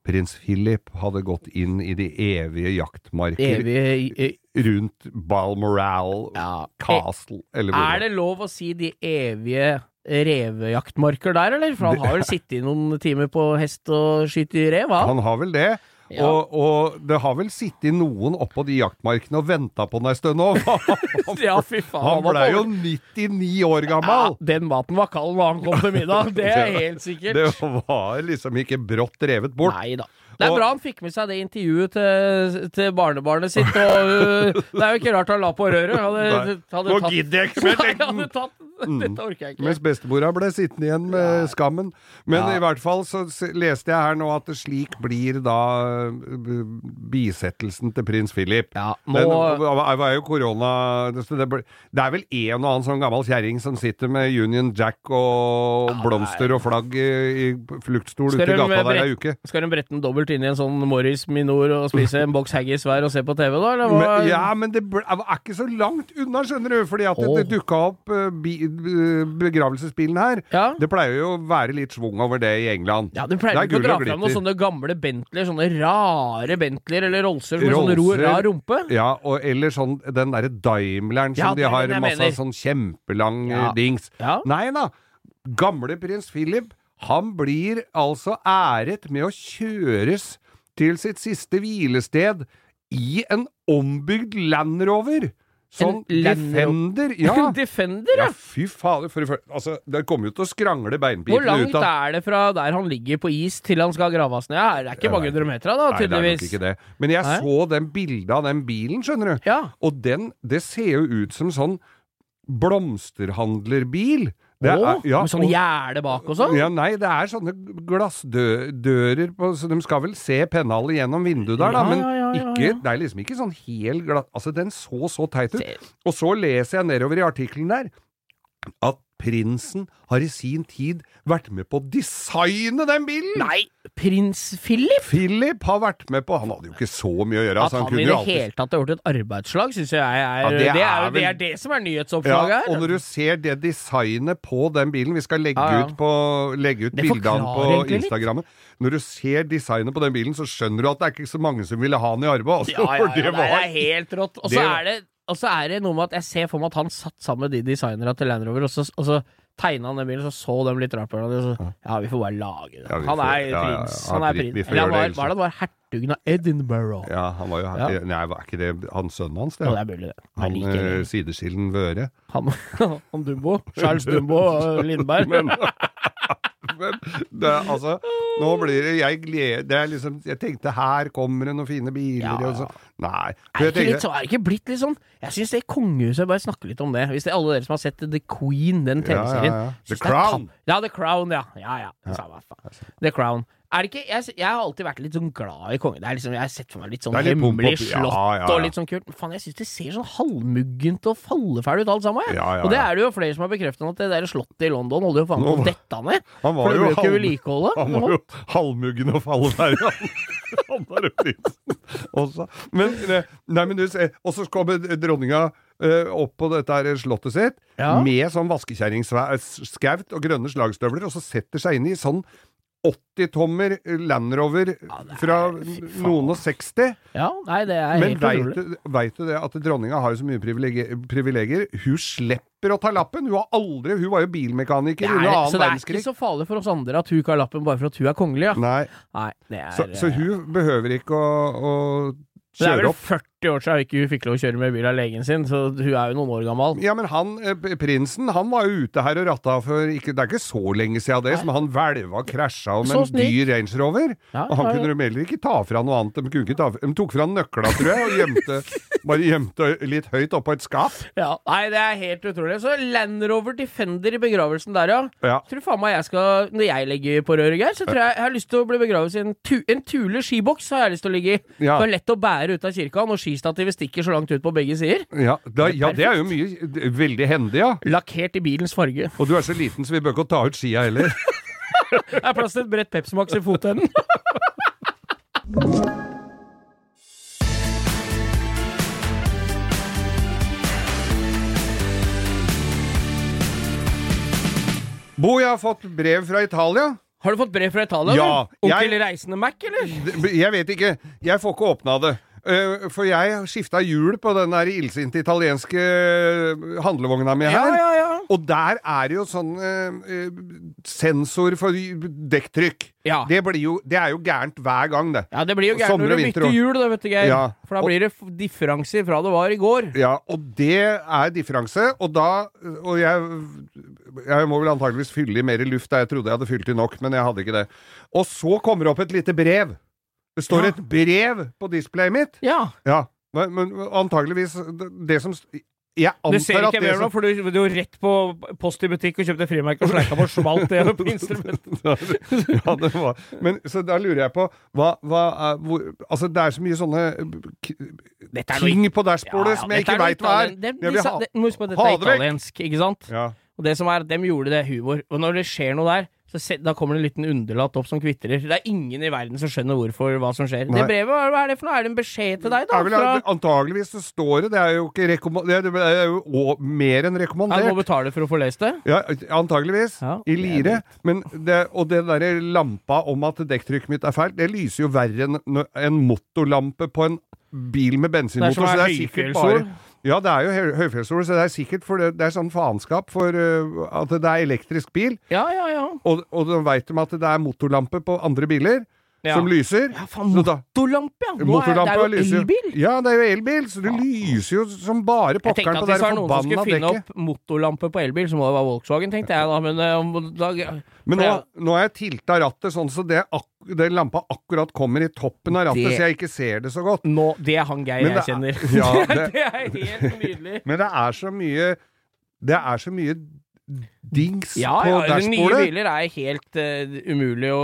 Speaker 2: Prins Philip hadde gått inn i de evige jaktmarker
Speaker 3: Evig eh,
Speaker 2: rundt Balmoral
Speaker 3: Ja.
Speaker 2: Castle, eller hvor
Speaker 3: Eh, Er det lov å si de evige revejaktmarker der, eller? For han har vel sittet i noen timer på hest og skutt i rev, han?
Speaker 2: Han har vel det.
Speaker 3: Ja.
Speaker 2: Og, og det har vel sittet noen oppå de jaktmarkene og venta på den ei stund nå. Han,
Speaker 3: Ja, fy <laughs> faen.
Speaker 2: han
Speaker 3: var
Speaker 2: blei jo
Speaker 3: dårlig.
Speaker 2: 99 år
Speaker 3: ja,
Speaker 2: gammel!
Speaker 3: Den maten var kald når han kom til middag, det er helt
Speaker 2: <laughs>
Speaker 3: sikkert.
Speaker 2: Det var liksom ikke brått revet bort.
Speaker 3: Nei da. Det er
Speaker 2: Og-
Speaker 3: bra han fikk med seg det intervjuet til, til barnebarnet sitt. Og, øh, det er jo ikke rart han la på røret. Hadde,
Speaker 2: Nei.
Speaker 3: hadde
Speaker 2: Nå
Speaker 3: tatt-
Speaker 2: gidder jeg ikke mer,
Speaker 3: <laughs> Nei,
Speaker 2: tenkte han.
Speaker 3: hadde tatt den.
Speaker 2: Mm.
Speaker 3: Dette orker jeg ikke.
Speaker 2: Mens bestemora ble sittende igjen med skammen. Men
Speaker 3: Ja.
Speaker 2: i hvert fall så s- leste jeg her nå at det slik blir da eh, b- bisettelsen til prins Philip.
Speaker 3: Ja,
Speaker 2: Nå... Den
Speaker 3: nå-
Speaker 2: var var jo korona det, så det ble- det er vel en og annen sånn gammel kjerring som sitter med Union Jack og blomster og flagg i, i fluktstol ute i
Speaker 3: Skal de,
Speaker 2: gata der ei
Speaker 3: brett-
Speaker 2: uke.
Speaker 3: Skal de brette den dobbelt inn i en sånn Morris Minor og spise en boks haggis hver og se på TV, da? Eller hva?
Speaker 2: Men, ja, men det ble, er ikke så langt unna, skjønner du, fordi at det, det dukka opp eh, bi, eh, begravelsesbilen her.
Speaker 3: Ja.
Speaker 2: Det pleier jo å være litt svung over det i England.
Speaker 3: Ja, Du pleier
Speaker 2: Det er
Speaker 3: ikke å
Speaker 2: gull
Speaker 3: dra
Speaker 2: og
Speaker 3: fram noen
Speaker 2: glitter.
Speaker 3: sånne gamle Bentleyer, sånne rare Bentleyer eller Rollser med sånn ro,
Speaker 2: Rollser.
Speaker 3: rar rumpe?
Speaker 2: Ja, og, eller sånn den derre Daimleren
Speaker 3: Ja,
Speaker 2: som
Speaker 3: det
Speaker 2: de
Speaker 3: er
Speaker 2: har
Speaker 3: den jeg
Speaker 2: masse
Speaker 3: mener.
Speaker 2: sånn kjempelang eh,
Speaker 3: Ja.
Speaker 2: dings.
Speaker 3: Ja.
Speaker 2: Nei da. Gamle prins Philip, han blir altså æret med å kjøres til sitt siste hvilested i en ombygd Land Rover. Sånn
Speaker 3: Land Rover.
Speaker 2: Defender.
Speaker 3: <laughs>
Speaker 2: Ja.
Speaker 3: Defender, ja!
Speaker 2: ja, fy fader. For, det første- altså, det kommer jo til å skrangle
Speaker 3: Hvor
Speaker 2: beinbitene
Speaker 3: langt
Speaker 2: ut av
Speaker 3: er det fra der han ligger på is til han skal graves ned? Ja, det er ikke mange hundre meter, da,
Speaker 2: Nei, det er nok
Speaker 3: tydeligvis.
Speaker 2: ikke det. Men jeg
Speaker 3: Nei.
Speaker 2: så den bildet av den bilen, skjønner du.
Speaker 3: Ja.
Speaker 2: Og den, det ser jo ut som sånn blomsterhandlerbil. Det
Speaker 3: Å,
Speaker 2: er- ja,
Speaker 3: med sånn
Speaker 2: og-
Speaker 3: gjerde bak og sånn?
Speaker 2: Ja, nei, det er sånne glassdører på, Så de skal vel se pennhallet gjennom vinduet der, da.
Speaker 3: Ja,
Speaker 2: Men
Speaker 3: ja, ja, ja,
Speaker 2: ikke, det er liksom ikke sånn hel glass... Altså, den så så teit ut.
Speaker 3: Se-
Speaker 2: Og så leser jeg nedover i artikkelen der at prinsen har i sin tid vært med på å designe den bilen!
Speaker 3: Nei, prins Philip?
Speaker 2: Philip har vært med på Han hadde jo ikke så mye å gjøre.
Speaker 3: At
Speaker 2: altså,
Speaker 3: han,
Speaker 2: kunne
Speaker 3: i
Speaker 2: jo
Speaker 3: det
Speaker 2: alltid-
Speaker 3: hele tatt har gjort et arbeidslag, syns jeg er,
Speaker 2: Ja,
Speaker 3: det,
Speaker 2: det
Speaker 3: er,
Speaker 2: er
Speaker 3: jo- det
Speaker 2: vel-
Speaker 3: er det som er
Speaker 2: Ja,
Speaker 3: nyhetsoppslaget her.
Speaker 2: og når du ser det designet på den bilen Vi skal legge
Speaker 3: Ja, ja.
Speaker 2: ut, på, legge ut
Speaker 3: Det
Speaker 2: bildet av den
Speaker 3: forklarer egentlig
Speaker 2: på
Speaker 3: litt.
Speaker 2: Instagrammet. Når du ser designet på den bilen, så skjønner du at det er ikke så mange som ville ha den i arve. Altså,
Speaker 3: Ja, ja,
Speaker 2: for <laughs>
Speaker 3: ja,
Speaker 2: det
Speaker 3: det
Speaker 2: var
Speaker 3: er helt rått. Og så
Speaker 2: det-
Speaker 3: er det og så er det noe med at jeg ser for meg at han satt sammen med de designerne til Land Rover, og så, og så tegna han den bilen, og så så de litt rart på hverandre. og så, Ja, vi får bare lage det.
Speaker 2: Ja, vi
Speaker 3: han
Speaker 2: får-
Speaker 3: er
Speaker 2: ja, ja, ja.
Speaker 3: prins.
Speaker 2: Ja,
Speaker 3: Han er
Speaker 2: vi- vi får
Speaker 3: prins. Eller
Speaker 2: gjøre
Speaker 3: han var,
Speaker 2: det, altså.
Speaker 3: var det han var hertugen av Edinburgh?
Speaker 2: Ja, han var jo her.
Speaker 3: Ja.
Speaker 2: Nei, var ikke det han sønnen hans, det?
Speaker 3: Ja, det er mulig, det. Han,
Speaker 2: han
Speaker 3: liker
Speaker 2: eh,
Speaker 3: det.
Speaker 2: sideskillen Vøre. <laughs>
Speaker 3: han, han <laughs> Dumbo. Charles Dumbo eh, Lindberg.
Speaker 2: Men, men det, er altså, nå blir det Jeg gleder det er liksom, Jeg tenkte her kommer det noen fine biler
Speaker 3: Ja, ja.
Speaker 2: og så Nei.
Speaker 3: Er
Speaker 2: Jeg
Speaker 3: det, ikke
Speaker 2: tenkte-
Speaker 3: litt, så, er det ikke blitt litt sånn Jeg syns det kongehuset Bare snakke litt om det. Hvis det er alle dere som har sett The Queen, den
Speaker 2: Ja, ja,
Speaker 3: TV-serien.
Speaker 2: ja. The
Speaker 3: synes det er
Speaker 2: Crown.
Speaker 3: tam- Ja, The Crown, ja. Ja, ja. Samme faen. The Crown. Er det ikke, jeg, jeg har alltid vært litt sånn glad i kongen. Det er liksom, jeg har sett for meg litt sånn
Speaker 2: Det er litt pomp
Speaker 3: hemmelig
Speaker 2: opp- ja,
Speaker 3: slott
Speaker 2: ja, ja.
Speaker 3: og litt sånn kult. Men faen, jeg syns det ser sånn halvmuggent og falleferdig ut alt sammen. jeg.
Speaker 2: Ja, ja,
Speaker 3: Og det
Speaker 2: ja.
Speaker 3: er det jo flere som har bekreftet at det der slottet i London holder jo faen på
Speaker 2: Nå-
Speaker 3: å dette ned.
Speaker 2: Han var
Speaker 3: For det
Speaker 2: jo
Speaker 3: ble jo
Speaker 2: halv- <laughs>
Speaker 3: ikke
Speaker 2: Han var
Speaker 3: vedlikeholdet.
Speaker 2: jo halvmuggen og falleferdig, han. <laughs> Han var jo prisen også. Men, eh, nei, men du ser, og så kommer dronninga eh, opp på dette her slottet sitt
Speaker 3: Ja.
Speaker 2: med sånn vaskekjerringskaut og grønne slagstøvler, og så setter seg inn i sånn 80-tommer Land Rover
Speaker 3: det er-
Speaker 2: fra
Speaker 3: fy faen.
Speaker 2: noen og 60.
Speaker 3: Ja, nei, det er
Speaker 2: Men
Speaker 3: helt
Speaker 2: veit
Speaker 3: utrolig.
Speaker 2: du, vet du det at dronninga har jo så mye privilegier, privilegier? Hun slipper å ta lappen! Hun har aldri Hun var jo
Speaker 3: Det
Speaker 2: bilmekaniker
Speaker 3: er,
Speaker 2: under
Speaker 3: så
Speaker 2: annen
Speaker 3: det er ikke
Speaker 2: verdenskrig.
Speaker 3: så farlig for oss andre at hun ikke har lappen bare for at hun er kongelig, ja.
Speaker 2: Nei.
Speaker 3: Nei, det er eh,
Speaker 2: Så, så hun behøver ikke å, å
Speaker 3: Det er
Speaker 2: kjøre
Speaker 3: vel
Speaker 2: opp.
Speaker 3: 40 år siden hun ikke fikk lov å kjøre med bil av legen sin, så hun er jo noen år gammel.
Speaker 2: Ja, men han, eh, p- prinsen, han var jo ute her og ratta for ikke, Det er ikke så lenge siden det, som han hvelva og krasja om
Speaker 3: Så
Speaker 2: en
Speaker 3: snill.
Speaker 2: dyr Range Rover.
Speaker 3: Ja,
Speaker 2: og han
Speaker 3: ja, ja.
Speaker 2: kunne de heller ikke ta fra noe annet. De, kunne ikke ta, fra- de tok fra han nøkla, tror jeg, og
Speaker 3: <laughs>
Speaker 2: gjemte, bare gjemte litt høyt oppå et skap.
Speaker 3: Ja, nei, det er helt utrolig. Så Land Rover Defender i begravelsen der, ja.
Speaker 2: Ja.
Speaker 3: Tror faen meg jeg skal Når jeg ligger på røret, Geir, så tror jeg jeg har lyst til å bli begravet i en, tu, en Thule skiboks. har jeg lyst til å ligge i.
Speaker 2: Ja.
Speaker 3: Det er lett å bære ut av kirka når skistativet stikker så langt ut på begge sider.
Speaker 2: Ja, da, ja, det er jo mye det er Veldig hendig, ja.
Speaker 3: Lakkert i bilens
Speaker 2: <laughs>
Speaker 3: farge.
Speaker 2: Og du er så liten, så vi bør ikke ta ut skia heller.
Speaker 3: Det er plass til et bredt Pepsi Max i fotenden.
Speaker 2: Bo, jeg har fått brev fra Italia.
Speaker 3: Har du fått brev fra Italia?
Speaker 2: Ja,
Speaker 3: eller? Onkel
Speaker 2: jeg-
Speaker 3: Reisende Mac, eller?
Speaker 2: Det- Jeg vet ikke. Jeg får ikke åpna det. Eh, For jeg skifta hjul på den der illsinte italienske eh, handlevogna mi her.
Speaker 3: ja, ja.
Speaker 2: Og der er det jo sånn eh, eh, sensor for dekktrykk.
Speaker 3: Ja.
Speaker 2: Det, blir jo, det er jo gærent hver gang, det.
Speaker 3: Ja, det blir jo gærent
Speaker 2: Sommer
Speaker 3: når
Speaker 2: og
Speaker 3: du
Speaker 2: vinter
Speaker 3: bytter
Speaker 2: også.
Speaker 3: hjul, da, vet du, Geir.
Speaker 2: Ja.
Speaker 3: For da
Speaker 2: Og-
Speaker 3: blir det f- differanser fra det var i går.
Speaker 2: Ja, og det er differanse, og da Og jeg, jeg må vel antakeligvis fylle i mer luft da jeg trodde jeg hadde fylt i nok, men jeg hadde ikke det. Og så kommer det opp et lite brev. Det står
Speaker 3: Ja.
Speaker 2: et brev på displayet mitt.
Speaker 3: Ja.
Speaker 2: Ja, men, men antageligvis det- det som jeg
Speaker 3: Du ser
Speaker 2: antar
Speaker 3: ikke
Speaker 2: at
Speaker 3: jeg
Speaker 2: det
Speaker 3: gjør nå, for du du var rett på Post i butikk og kjøpte frimerke og sleika på smalt det på <laughs> instrumentet.
Speaker 2: <laughs> ja, det var. Men så da lurer jeg på hva, hva er, hvor, Altså, det er så mye sånne k
Speaker 3: Dette er noe
Speaker 2: ting på dashbordet som jeg ikke veit hva er.
Speaker 3: Det, det,
Speaker 2: Jeg vil
Speaker 3: de sa-
Speaker 2: ha-
Speaker 3: det, må huske på at dette
Speaker 2: ha
Speaker 3: er
Speaker 2: det vekk.
Speaker 3: italiensk, ikke sant?
Speaker 2: Ja.
Speaker 3: Og det som er, dem gjorde det humor. Og når det skjer noe der, så se, da kommer det en liten underlatt opp som kvitrer. Det er ingen i verden som skjønner hvorfor hva som skjer.
Speaker 2: Nei.
Speaker 3: Det brevet, hva er det for noe? Er det en beskjed til deg, da?
Speaker 2: Er vel,
Speaker 3: Fra,
Speaker 2: antageligvis så står det Det er jo ikke rekommand... Det er, det er jo å- mer enn
Speaker 3: jeg må
Speaker 2: rekommandert.
Speaker 3: betale for å få lest det?
Speaker 2: Ja, antageligvis.
Speaker 3: Ja,
Speaker 2: I
Speaker 3: det er
Speaker 2: lire. Men det, og den derre lampa om at dekktrykket mitt er feil, det lyser jo verre enn nø- en motorlampe på en bil med
Speaker 3: Det er
Speaker 2: bensinmotor.
Speaker 3: som
Speaker 2: så
Speaker 3: er
Speaker 2: sikkert
Speaker 3: høyfjellssol.
Speaker 2: Ja, det er jo høy- høyfjellssol, så det er sikkert for det, det er sånn faenskap for øh, at det er elektrisk bil,
Speaker 3: Ja, ja, ja.
Speaker 2: og, og de veit de at det er motorlampe på andre biler
Speaker 3: Ja.
Speaker 2: som lyser.
Speaker 3: Ja, faen,
Speaker 2: Så da-
Speaker 3: motorlampe, ja! Nå er, det
Speaker 2: Motorlampa
Speaker 3: er jo
Speaker 2: lyser
Speaker 3: elbil!
Speaker 2: Ja, det er jo elbil, så det lyser jo som bare
Speaker 3: Jeg tenkte
Speaker 2: pokkeren
Speaker 3: at
Speaker 2: på
Speaker 3: hvis
Speaker 2: det
Speaker 3: det var noen som
Speaker 2: forbanna
Speaker 3: skulle finne
Speaker 2: dekket.
Speaker 3: opp motorlampe på elbil, så må det være Volkswagen, tenkte jeg da, men eh, om- da,
Speaker 2: Men nå,
Speaker 3: Ja.
Speaker 2: nå har jeg tilta rattet sånn så det, ak den lampa akkurat kommer i toppen av rattet,
Speaker 3: Det-
Speaker 2: så jeg ikke ser det så godt.
Speaker 3: nå, Det er han Geir
Speaker 2: Men
Speaker 3: jeg
Speaker 2: det er-
Speaker 3: kjenner.
Speaker 2: <laughs> Ja,
Speaker 3: <laughs> det,
Speaker 2: det-
Speaker 3: er helt nydelig.
Speaker 2: Men det er så mye Det er så mye dings
Speaker 3: Ja,
Speaker 2: på
Speaker 3: ja, de nye
Speaker 2: dashbordet.
Speaker 3: biler er helt eh, umulig å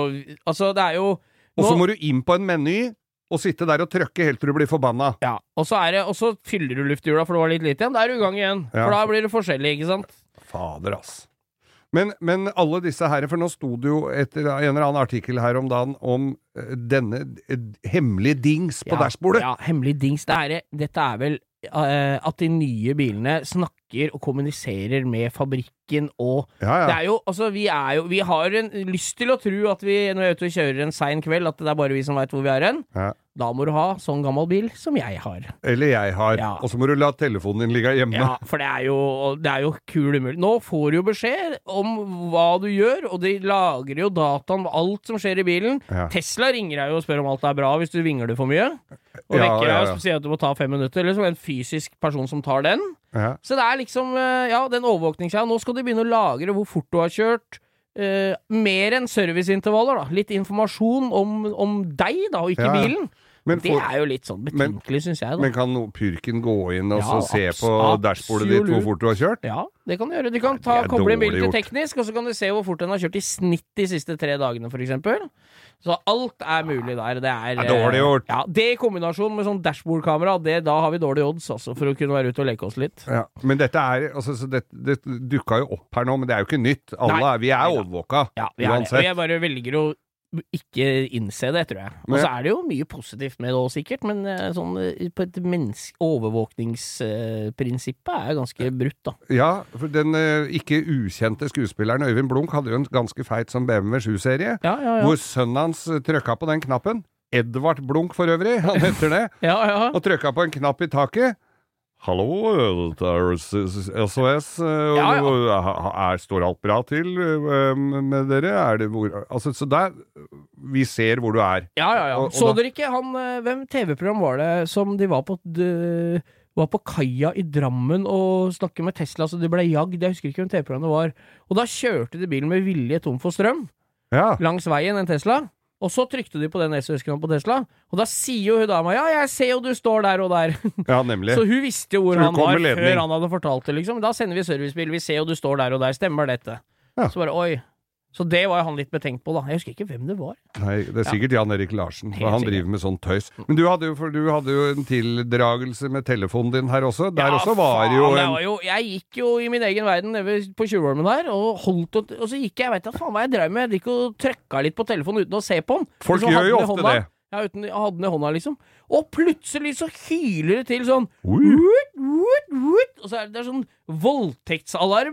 Speaker 3: Altså, det er jo
Speaker 2: Og så
Speaker 3: nå-
Speaker 2: må du inn på en meny og sitte der og trøkke helt til du blir forbanna.
Speaker 3: ja, og så er det, og så fyller du lufthjula, for det var litt lite igjen. Da er du i gang igjen.
Speaker 2: Ja.
Speaker 3: For da blir det forskjellig, ikke sant?
Speaker 2: Fader, ass. Men, men alle disse her, for nå sto det jo etter en eller annen artikkel her om dagen om eh, denne eh, hemmelige dings på
Speaker 3: ja,
Speaker 2: dashbordet.
Speaker 3: Ja, hemmelig dings. Det er, dette er vel eh, at de nye bilene snakker og kommuniserer med fabrikken og
Speaker 2: Ja, ja.
Speaker 3: Det er jo, altså, vi er jo Vi har en lyst til å tro at vi, når vi er ute og kjører en sein kveld, at det er bare vi som veit hvor vi er hen.
Speaker 2: Ja.
Speaker 3: Da må du ha sånn gammel bil som jeg har.
Speaker 2: Eller jeg har.
Speaker 3: Ja.
Speaker 2: Og så må du la telefonen din ligge hjemme.
Speaker 3: Ja, for det er jo, det er jo kul umulig. Nå får du jo beskjed om hva du gjør, og de lagrer jo dataen med alt som skjer i bilen.
Speaker 2: Ja.
Speaker 3: Tesla ringer deg jo og spør om alt er bra hvis du vingler for mye. Og
Speaker 2: Ja,
Speaker 3: vekker
Speaker 2: ja,
Speaker 3: deg
Speaker 2: ja.
Speaker 3: og sier at du må ta fem minutter. Eller så er det en fysisk person som tar den.
Speaker 2: Ja.
Speaker 3: Så det er liksom, eh, ja, den overvåkningsgreia. Nå skal de begynne å lagre hvor fort du har kjørt. eh, mer enn serviceintervaller, da. Litt informasjon om, om deg, da, og ikke
Speaker 2: Ja, ja.
Speaker 3: bilen.
Speaker 2: Men,
Speaker 3: det
Speaker 2: får-
Speaker 3: er jo litt sånn
Speaker 2: Men-
Speaker 3: betenkelig, syns jeg, da.
Speaker 2: men kan no- purken gå inn og
Speaker 3: Ja,
Speaker 2: så se
Speaker 3: abs-
Speaker 2: på dashbordet ditt hvor
Speaker 3: absolutt.
Speaker 2: fort du har kjørt?
Speaker 3: ja, det kan du gjøre. Du kan ta,
Speaker 2: det er
Speaker 3: koble en bil
Speaker 2: dårlig
Speaker 3: til
Speaker 2: gjort.
Speaker 3: teknisk, og så kan du se hvor fort den har kjørt i snitt de siste tre dagene, for eksempel. Så alt er mulig der. Det er
Speaker 2: Ja, dårlig
Speaker 3: eh,
Speaker 2: gjort.
Speaker 3: Ja, det i kombinasjon med sånn dashbordkamera, det- da har vi dårlige odds, altså, for å kunne være ute og leke oss litt.
Speaker 2: Ja. Men dette er altså, så det, det dukka jo opp her nå, men det er jo ikke nytt. Alle,
Speaker 3: Nei.
Speaker 2: er- vi er overvåka.
Speaker 3: Ja, vi er det. Og
Speaker 2: Uansett.
Speaker 3: jeg bare velger å ikke innse det, tror jeg. Og
Speaker 2: Men-
Speaker 3: så er det jo mye positivt med det òg, sikkert, men eh, sånn eh, på et menneske... Overvåkningsprinsippet er ganske brutt, da.
Speaker 2: Ja, for den eh, ikke ukjente skuespilleren Øyvind Blunk hadde jo en ganske feit sånn BMW 7-serie,
Speaker 3: Ja, ja, ja.
Speaker 2: hvor sønnen hans eh, trykka på den knappen. Edvard Blunk for øvrig, han heter det.
Speaker 3: ja, <laughs> ja.
Speaker 2: og trykka på en knapp i taket. Hallo, eh, dette er SOS. eh,
Speaker 3: Ja, ja.
Speaker 2: og, eh, ha- Er, står alt bra til eh, med dere? Er det hvor Altså, så der Vi ser hvor du er.
Speaker 3: Ja, ja, ja.
Speaker 2: Og- og
Speaker 3: Så
Speaker 2: da-
Speaker 3: dere ikke han eh, Hvem TV-program var det som de var på de, Var på kaia i Drammen og snakket med Tesla, så de ble jagd. Jeg husker ikke hvem TV-programmet det var. Og da kjørte de bilen med vilje tom for strøm
Speaker 2: Ja.
Speaker 3: langs veien, en Tesla. Og så trykte de på den SOS-knappen på Tesla, og da sier jo hun dama 'ja, jeg ser jo du står der og der'.
Speaker 2: ja, nemlig.
Speaker 3: <laughs> Så hun visste jo hvor
Speaker 2: Så hun
Speaker 3: han
Speaker 2: kom
Speaker 3: var
Speaker 2: med ledning.
Speaker 3: før han hadde fortalt det, liksom. Da sender vi servicebil, vi ser jo du står der og der, stemmer dette?
Speaker 2: Ja.
Speaker 3: Så bare oi. Så det var jo han litt betenkt på, da. Jeg husker ikke hvem det var.
Speaker 2: Nei, det er sikkert Jan Erik Larsen. For
Speaker 3: Helt
Speaker 2: han
Speaker 3: sikkert.
Speaker 2: driver med sånn tøys. Men du hadde jo, for du hadde jo en tildragelse med telefonen din her også. Der
Speaker 3: Ja,
Speaker 2: også var
Speaker 3: faen,
Speaker 2: det jo
Speaker 3: det
Speaker 2: en
Speaker 3: var jo, Jeg gikk jo i min egen verden nede ved- på Tjuvholmen her, og, holdt, og, og så gikk jeg Jeg veit da faen hva jeg drev med. Jeg gikk og trøkka litt på telefonen uten å se på den.
Speaker 2: Folk
Speaker 3: Og så hadde
Speaker 2: gjør jo
Speaker 3: den i
Speaker 2: ofte
Speaker 3: hånda.
Speaker 2: det.
Speaker 3: Ja, uten, jeg hadde den i hånda, liksom. Og plutselig så hyler det til sånn
Speaker 2: Ui.
Speaker 3: «Woot, woot, woot», Og så er det, det er sånn voldtektsalarm,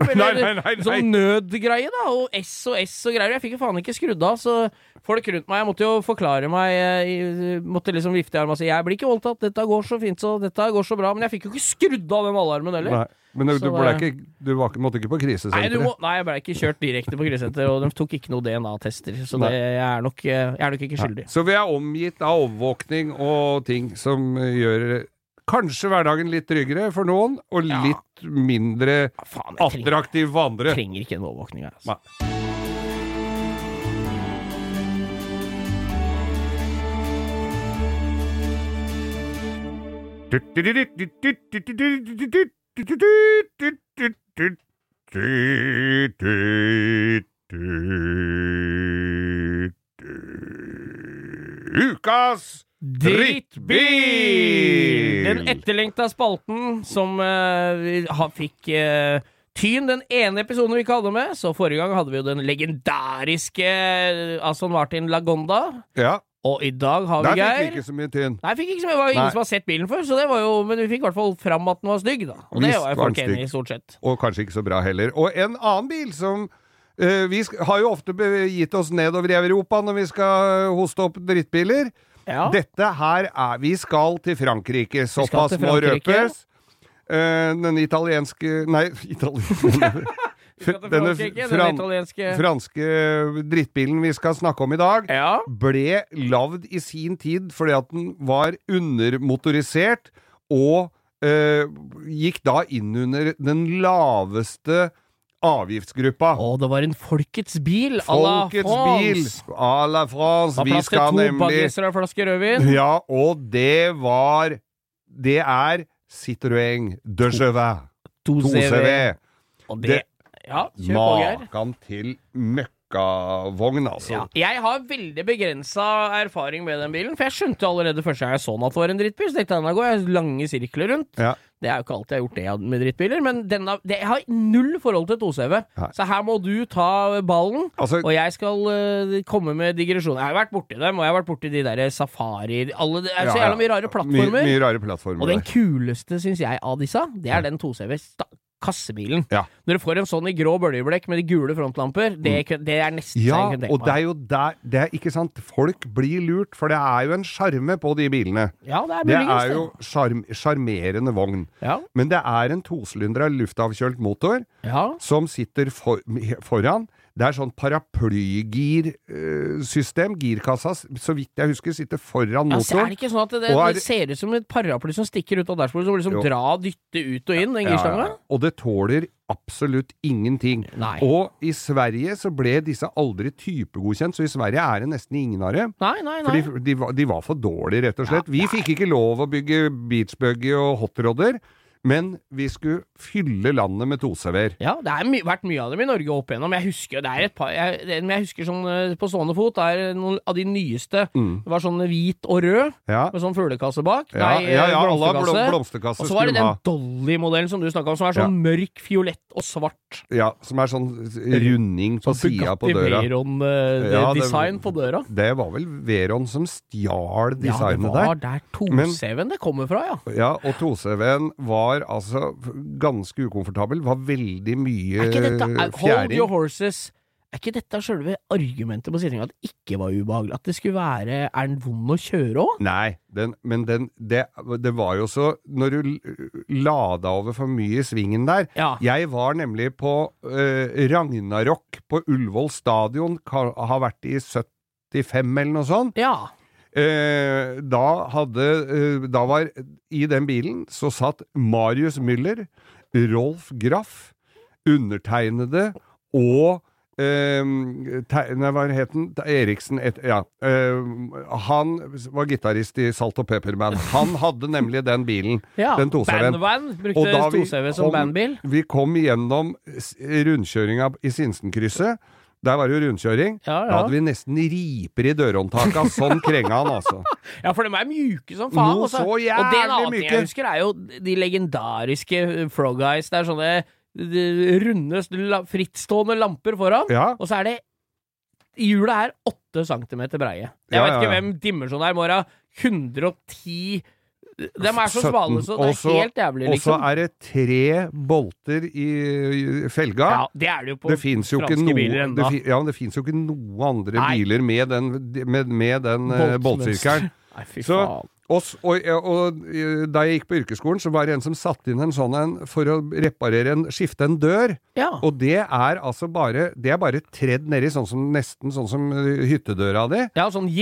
Speaker 2: <laughs> Nei,
Speaker 3: eller
Speaker 2: nei, nei, nei.
Speaker 3: sånn nødgreie, da. Og SOS og greier. Jeg fikk jo faen ikke skrudd av, så folk rundt meg Jeg måtte jo forklare meg eh, i- Måtte liksom vifte i armen og si 'jeg blir ikke voldtatt, dette går så fint, så dette går så bra'. Men jeg fikk jo ikke skrudd av den alarmen heller.
Speaker 2: Nei, men du,
Speaker 3: Så
Speaker 2: du, ble
Speaker 3: var-
Speaker 2: ikke, du var, ikke- måtte ikke på
Speaker 3: Nei, du
Speaker 2: krisesenteret?
Speaker 3: må, nei, jeg ble ikke kjørt direkte på krisesenter, og de tok ikke noe DNA-tester, så
Speaker 2: Nei.
Speaker 3: det, jeg, er nok, eh, jeg er nok ikke skyldig.
Speaker 2: Så vi er omgitt av overvåkning og ting som eh, gjør kanskje hverdagen litt tryggere for noen, og
Speaker 3: Ja.
Speaker 2: litt mindre
Speaker 3: Ja, faen, jeg trenger,
Speaker 2: attraktiv for andre.
Speaker 3: trenger ikke en overvåkning her. Altså.
Speaker 2: Nei. Ukas Drittbil!
Speaker 3: Den etterlengta spalten som eh, vi ha- fikk eh, tyn den ene episoden vi ikke hadde med. Så forrige gang hadde vi jo den legendariske eh, Aston Martin Lagonda.
Speaker 2: Ja,
Speaker 3: Og i dag har
Speaker 2: der fikk
Speaker 3: vi
Speaker 2: vi
Speaker 3: Geir.
Speaker 2: ikke så mye tynn.
Speaker 3: Nei, fikk ikke så mye. Det var jo
Speaker 2: Nei.
Speaker 3: ingen som har sett bilen før, så det var jo, men vi fikk i hvert fall fram at den var stygg, da. Og det
Speaker 2: Visst
Speaker 3: var jo
Speaker 2: var den
Speaker 3: folk enig i,
Speaker 2: stygg.
Speaker 3: stort sett.
Speaker 2: Og kanskje ikke så bra heller. Og en annen bil som eh, Vi sk- har jo ofte begitt oss nedover i Europa når vi skal eh, hoste opp drittbiler.
Speaker 3: Ja.
Speaker 2: Dette her er Vi skal til Frankrike.
Speaker 3: til
Speaker 2: Såpass må
Speaker 3: Frankrike.
Speaker 2: røpes. Eh, den italienske Nei, <laughs> italienske Denne
Speaker 3: Frankrike, den
Speaker 2: fran,
Speaker 3: italienske
Speaker 2: franske drittbilen vi skal snakke om i dag,
Speaker 3: Ja.
Speaker 2: ble lagd i sin tid fordi at den var undermotorisert og eh, gikk da inn under den laveste avgiftsgruppa.
Speaker 3: Å, det var en folkets bil à la
Speaker 2: Folkets bil
Speaker 3: France.
Speaker 2: à la France.
Speaker 3: Har
Speaker 2: Vi
Speaker 3: plass til
Speaker 2: skal
Speaker 3: to
Speaker 2: nemlig
Speaker 3: bageser og en flaske rødvin.
Speaker 2: Ja, og det var Det er Citroën de Chevet.
Speaker 3: To
Speaker 2: 2CV.
Speaker 3: Og det
Speaker 2: Det-
Speaker 3: Ja, kjør på, Geir.
Speaker 2: Makan til møkkavogn, altså.
Speaker 3: Ja. Jeg har veldig begrensa erfaring med den bilen, for jeg skjønte allerede første gang jeg så den at det var en drittbil. Så tenkte jeg nå går jeg lange sirkler rundt.
Speaker 2: Ja.
Speaker 3: Det er jo ikke alltid jeg har gjort det med drittbiler, men denne, det, jeg har null forhold til 2CV.
Speaker 2: Nei.
Speaker 3: Så her må du ta ballen,
Speaker 2: Altså,
Speaker 3: og jeg skal eh, komme med digresjoner. Jeg har vært borti dem, og jeg har vært borti de der safari alle, Det er så
Speaker 2: Ja, ja.
Speaker 3: jævla mye rare
Speaker 2: Mye,
Speaker 3: plattformer.
Speaker 2: mye rare plattformer.
Speaker 3: Og
Speaker 2: der.
Speaker 3: den kuleste, syns jeg, av disse, det er den 2CV sta- kassebilen.
Speaker 2: Mm. Ja. Mm.
Speaker 3: Når du får en sånn i grå bøljeblekk med de gule frontlamper, det, kø- det er nesten
Speaker 2: ja,
Speaker 3: så jeg kunne
Speaker 2: og
Speaker 3: tenke
Speaker 2: det
Speaker 3: meg.
Speaker 2: er jo der det er, Ikke sant? Folk blir lurt, for det er jo en sjarme på de bilene.
Speaker 3: Ja, det er
Speaker 2: Det
Speaker 3: muligens
Speaker 2: er jo sjarm- sjarmerende vogn.
Speaker 3: Ja,
Speaker 2: Men det er en tosylindra luftavkjølt motor
Speaker 3: ja.
Speaker 2: som sitter for, foran. Det er sånn paraplygirsystem. Girkassa, så vidt jeg husker, sitter foran
Speaker 3: Ja, så er
Speaker 2: motoren.
Speaker 3: det ikke sånn at det,
Speaker 2: Og er
Speaker 3: det
Speaker 2: det-
Speaker 3: ser ut som et paraply som stikker ut av dashbordet, som liksom
Speaker 2: Jo.
Speaker 3: dra og dytte ut og inn, den
Speaker 2: Ja,
Speaker 3: girstanga?
Speaker 2: ja, ja. Og det tåler absolutt ingenting.
Speaker 3: Nei.
Speaker 2: Og i Sverige så ble disse aldri typegodkjent, så i Sverige er det nesten ingen av dem.
Speaker 3: Nei, nei, nei.
Speaker 2: Fordi de var, de var for dårlige, rett og slett. Vi fikk ikke lov å bygge beachbuggy og hotrodder, men vi skulle fylle landet med tosever.
Speaker 3: Ja, det har my vært mye av dem i Norge opp igjennom. Jeg husker jo, det er et par jeg, det- Men jeg husker sånn eh, på stående fot, det er noen av de nyeste.
Speaker 2: Mm.
Speaker 3: Det var sånn hvit og rød,
Speaker 2: Ja.
Speaker 3: med sånn fuglekasse bak.
Speaker 2: Ja,
Speaker 3: Nei, eh,
Speaker 2: ja, ja, alle har blom,
Speaker 3: blomsterkasse.
Speaker 2: blomsterkasse
Speaker 3: og så var
Speaker 2: skulle
Speaker 3: det
Speaker 2: de ha.
Speaker 3: den Dolly-modellen som du snakka om, som er
Speaker 2: Ja.
Speaker 3: sånn mørk, fiolett og svart. Sånn
Speaker 2: Ja, som er sånn runding på sida på
Speaker 3: Bugatti
Speaker 2: døra. Ja, det-
Speaker 3: Veyron-design på døra.
Speaker 2: Det var vel Veron som stjal designet
Speaker 3: ja, det
Speaker 2: der.
Speaker 3: var der 2CV-en det kommer fra, ja.
Speaker 2: Ja, og 2CV-en var altså ganske ukomfortabel. Var veldig mye
Speaker 3: Er ikke dette,
Speaker 2: Eh,
Speaker 3: er, hold your
Speaker 2: fjæring.
Speaker 3: horses Er ikke dette selve argumentet på sittinga at det ikke var ubehagelig? At det skulle være Er den vond å kjøre òg?
Speaker 2: Nei, den, men den, det, det var jo så Når du l- lada over for mye i svingen der
Speaker 3: Ja.
Speaker 2: Jeg var nemlig på eh, Ragnarok på Ullevål stadion, ka, har vært i 75 eller noe sånt.
Speaker 3: ja.
Speaker 2: Eh, da hadde eh, Da var I den bilen så satt Marius Müller, Rolf Graff, undertegnede og eh, te- Nei, hva het han? Te- Eriksen et, Ja. Eh, han var gitarist i Salt og Pepperman. Han hadde nemlig den bilen.
Speaker 3: ja.
Speaker 2: Den 2CV-en.
Speaker 3: Bandvan
Speaker 2: Og
Speaker 3: brukte
Speaker 2: da vi
Speaker 3: 2CV som
Speaker 2: kom-
Speaker 3: bandbil.
Speaker 2: Vi kom gjennom s- rundkjøringa i Sinsenkrysset. Der var det jo rundkjøring.
Speaker 3: Ja,
Speaker 2: Da
Speaker 3: ja.
Speaker 2: hadde vi nesten riper i dørhåndtaka. Sånn krenga han, altså.
Speaker 3: ja, for de er mjuke som faen.
Speaker 2: Noe
Speaker 3: altså.
Speaker 2: så
Speaker 3: og det
Speaker 2: jævlig
Speaker 3: en annen ting
Speaker 2: myke.
Speaker 3: jeg husker, er jo de legendariske eh, Frog Eyes. Det er sånne eh, runde, la- frittstående lamper foran,
Speaker 2: Ja.
Speaker 3: og så er det Hjulet er åtte centimeter breie. Jeg
Speaker 2: Ja, ja,
Speaker 3: vet ikke
Speaker 2: ja.
Speaker 3: hvem dimensjonen er, Mora. 110 De er så
Speaker 2: 17,
Speaker 3: smale, så det
Speaker 2: og
Speaker 3: er
Speaker 2: så-
Speaker 3: helt jævlig,
Speaker 2: Og så
Speaker 3: liksom.
Speaker 2: er det tre bolter i, i felga.
Speaker 3: Ja, det er det jo på
Speaker 2: det fins jo, ikke
Speaker 3: franske
Speaker 2: noe-
Speaker 3: biler
Speaker 2: det
Speaker 3: ennå.
Speaker 2: fin- ja, men det finnes jo ikke noe andre
Speaker 3: Nei.
Speaker 2: biler med den, med, med den eh, boltsirkelen.
Speaker 3: Nei, fy
Speaker 2: Så-
Speaker 3: faen.
Speaker 2: Og, s- og, og eh, da jeg gikk på yrkesskolen, så var det en som satte inn en sånn en for å reparere en, skifte en dør.
Speaker 3: Ja.
Speaker 2: Og det er altså bare Det er bare tredd nedi, sånn som nesten sånn som eh, hyttedøra di.
Speaker 3: ja, sånn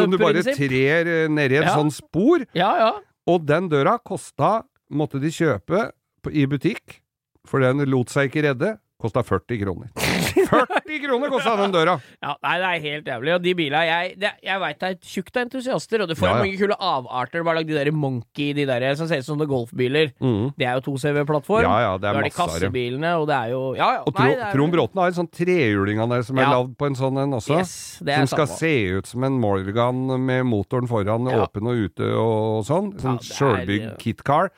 Speaker 2: Som du bare
Speaker 3: jipp-prinsipp.
Speaker 2: trer eh, nedi et
Speaker 3: Ja.
Speaker 2: sånn spor.
Speaker 3: Ja, ja.
Speaker 2: Og den døra kosta Måtte
Speaker 3: <laughs>
Speaker 2: de kjøpe på, i butikk, for den lot seg ikke redde. Kosta 40 kroner. 40 kroner kosta den døra!
Speaker 3: Ja, nei, det er helt jævlig. Og de bilene Jeg, det, jeg veit det er tjukt av entusiaster, og du får
Speaker 2: Ja, ja.
Speaker 3: mange kule avarter. Bare lag de der Monkey, de der som ser ut som noen golfbiler.
Speaker 2: Mhm.
Speaker 3: Det er jo 2CV-plattform.
Speaker 2: Ja, ja, det er
Speaker 3: Mm. da er det
Speaker 2: masse av det.
Speaker 3: kassebilene, og det er jo Ja, ja.
Speaker 2: Og
Speaker 3: nei,
Speaker 2: Tro,
Speaker 3: det er-
Speaker 2: Trond Bråten har en sånn trehjuling han der som er
Speaker 3: Ja.
Speaker 2: lagd på en sånn en også.
Speaker 3: Yes, det
Speaker 2: Som
Speaker 3: er
Speaker 2: skal
Speaker 3: samme.
Speaker 2: se ut som en Morgan med motoren foran
Speaker 3: Ja.
Speaker 2: åpen og ute og sånn. Sånn
Speaker 3: det er-
Speaker 2: sjølbygd kitcar.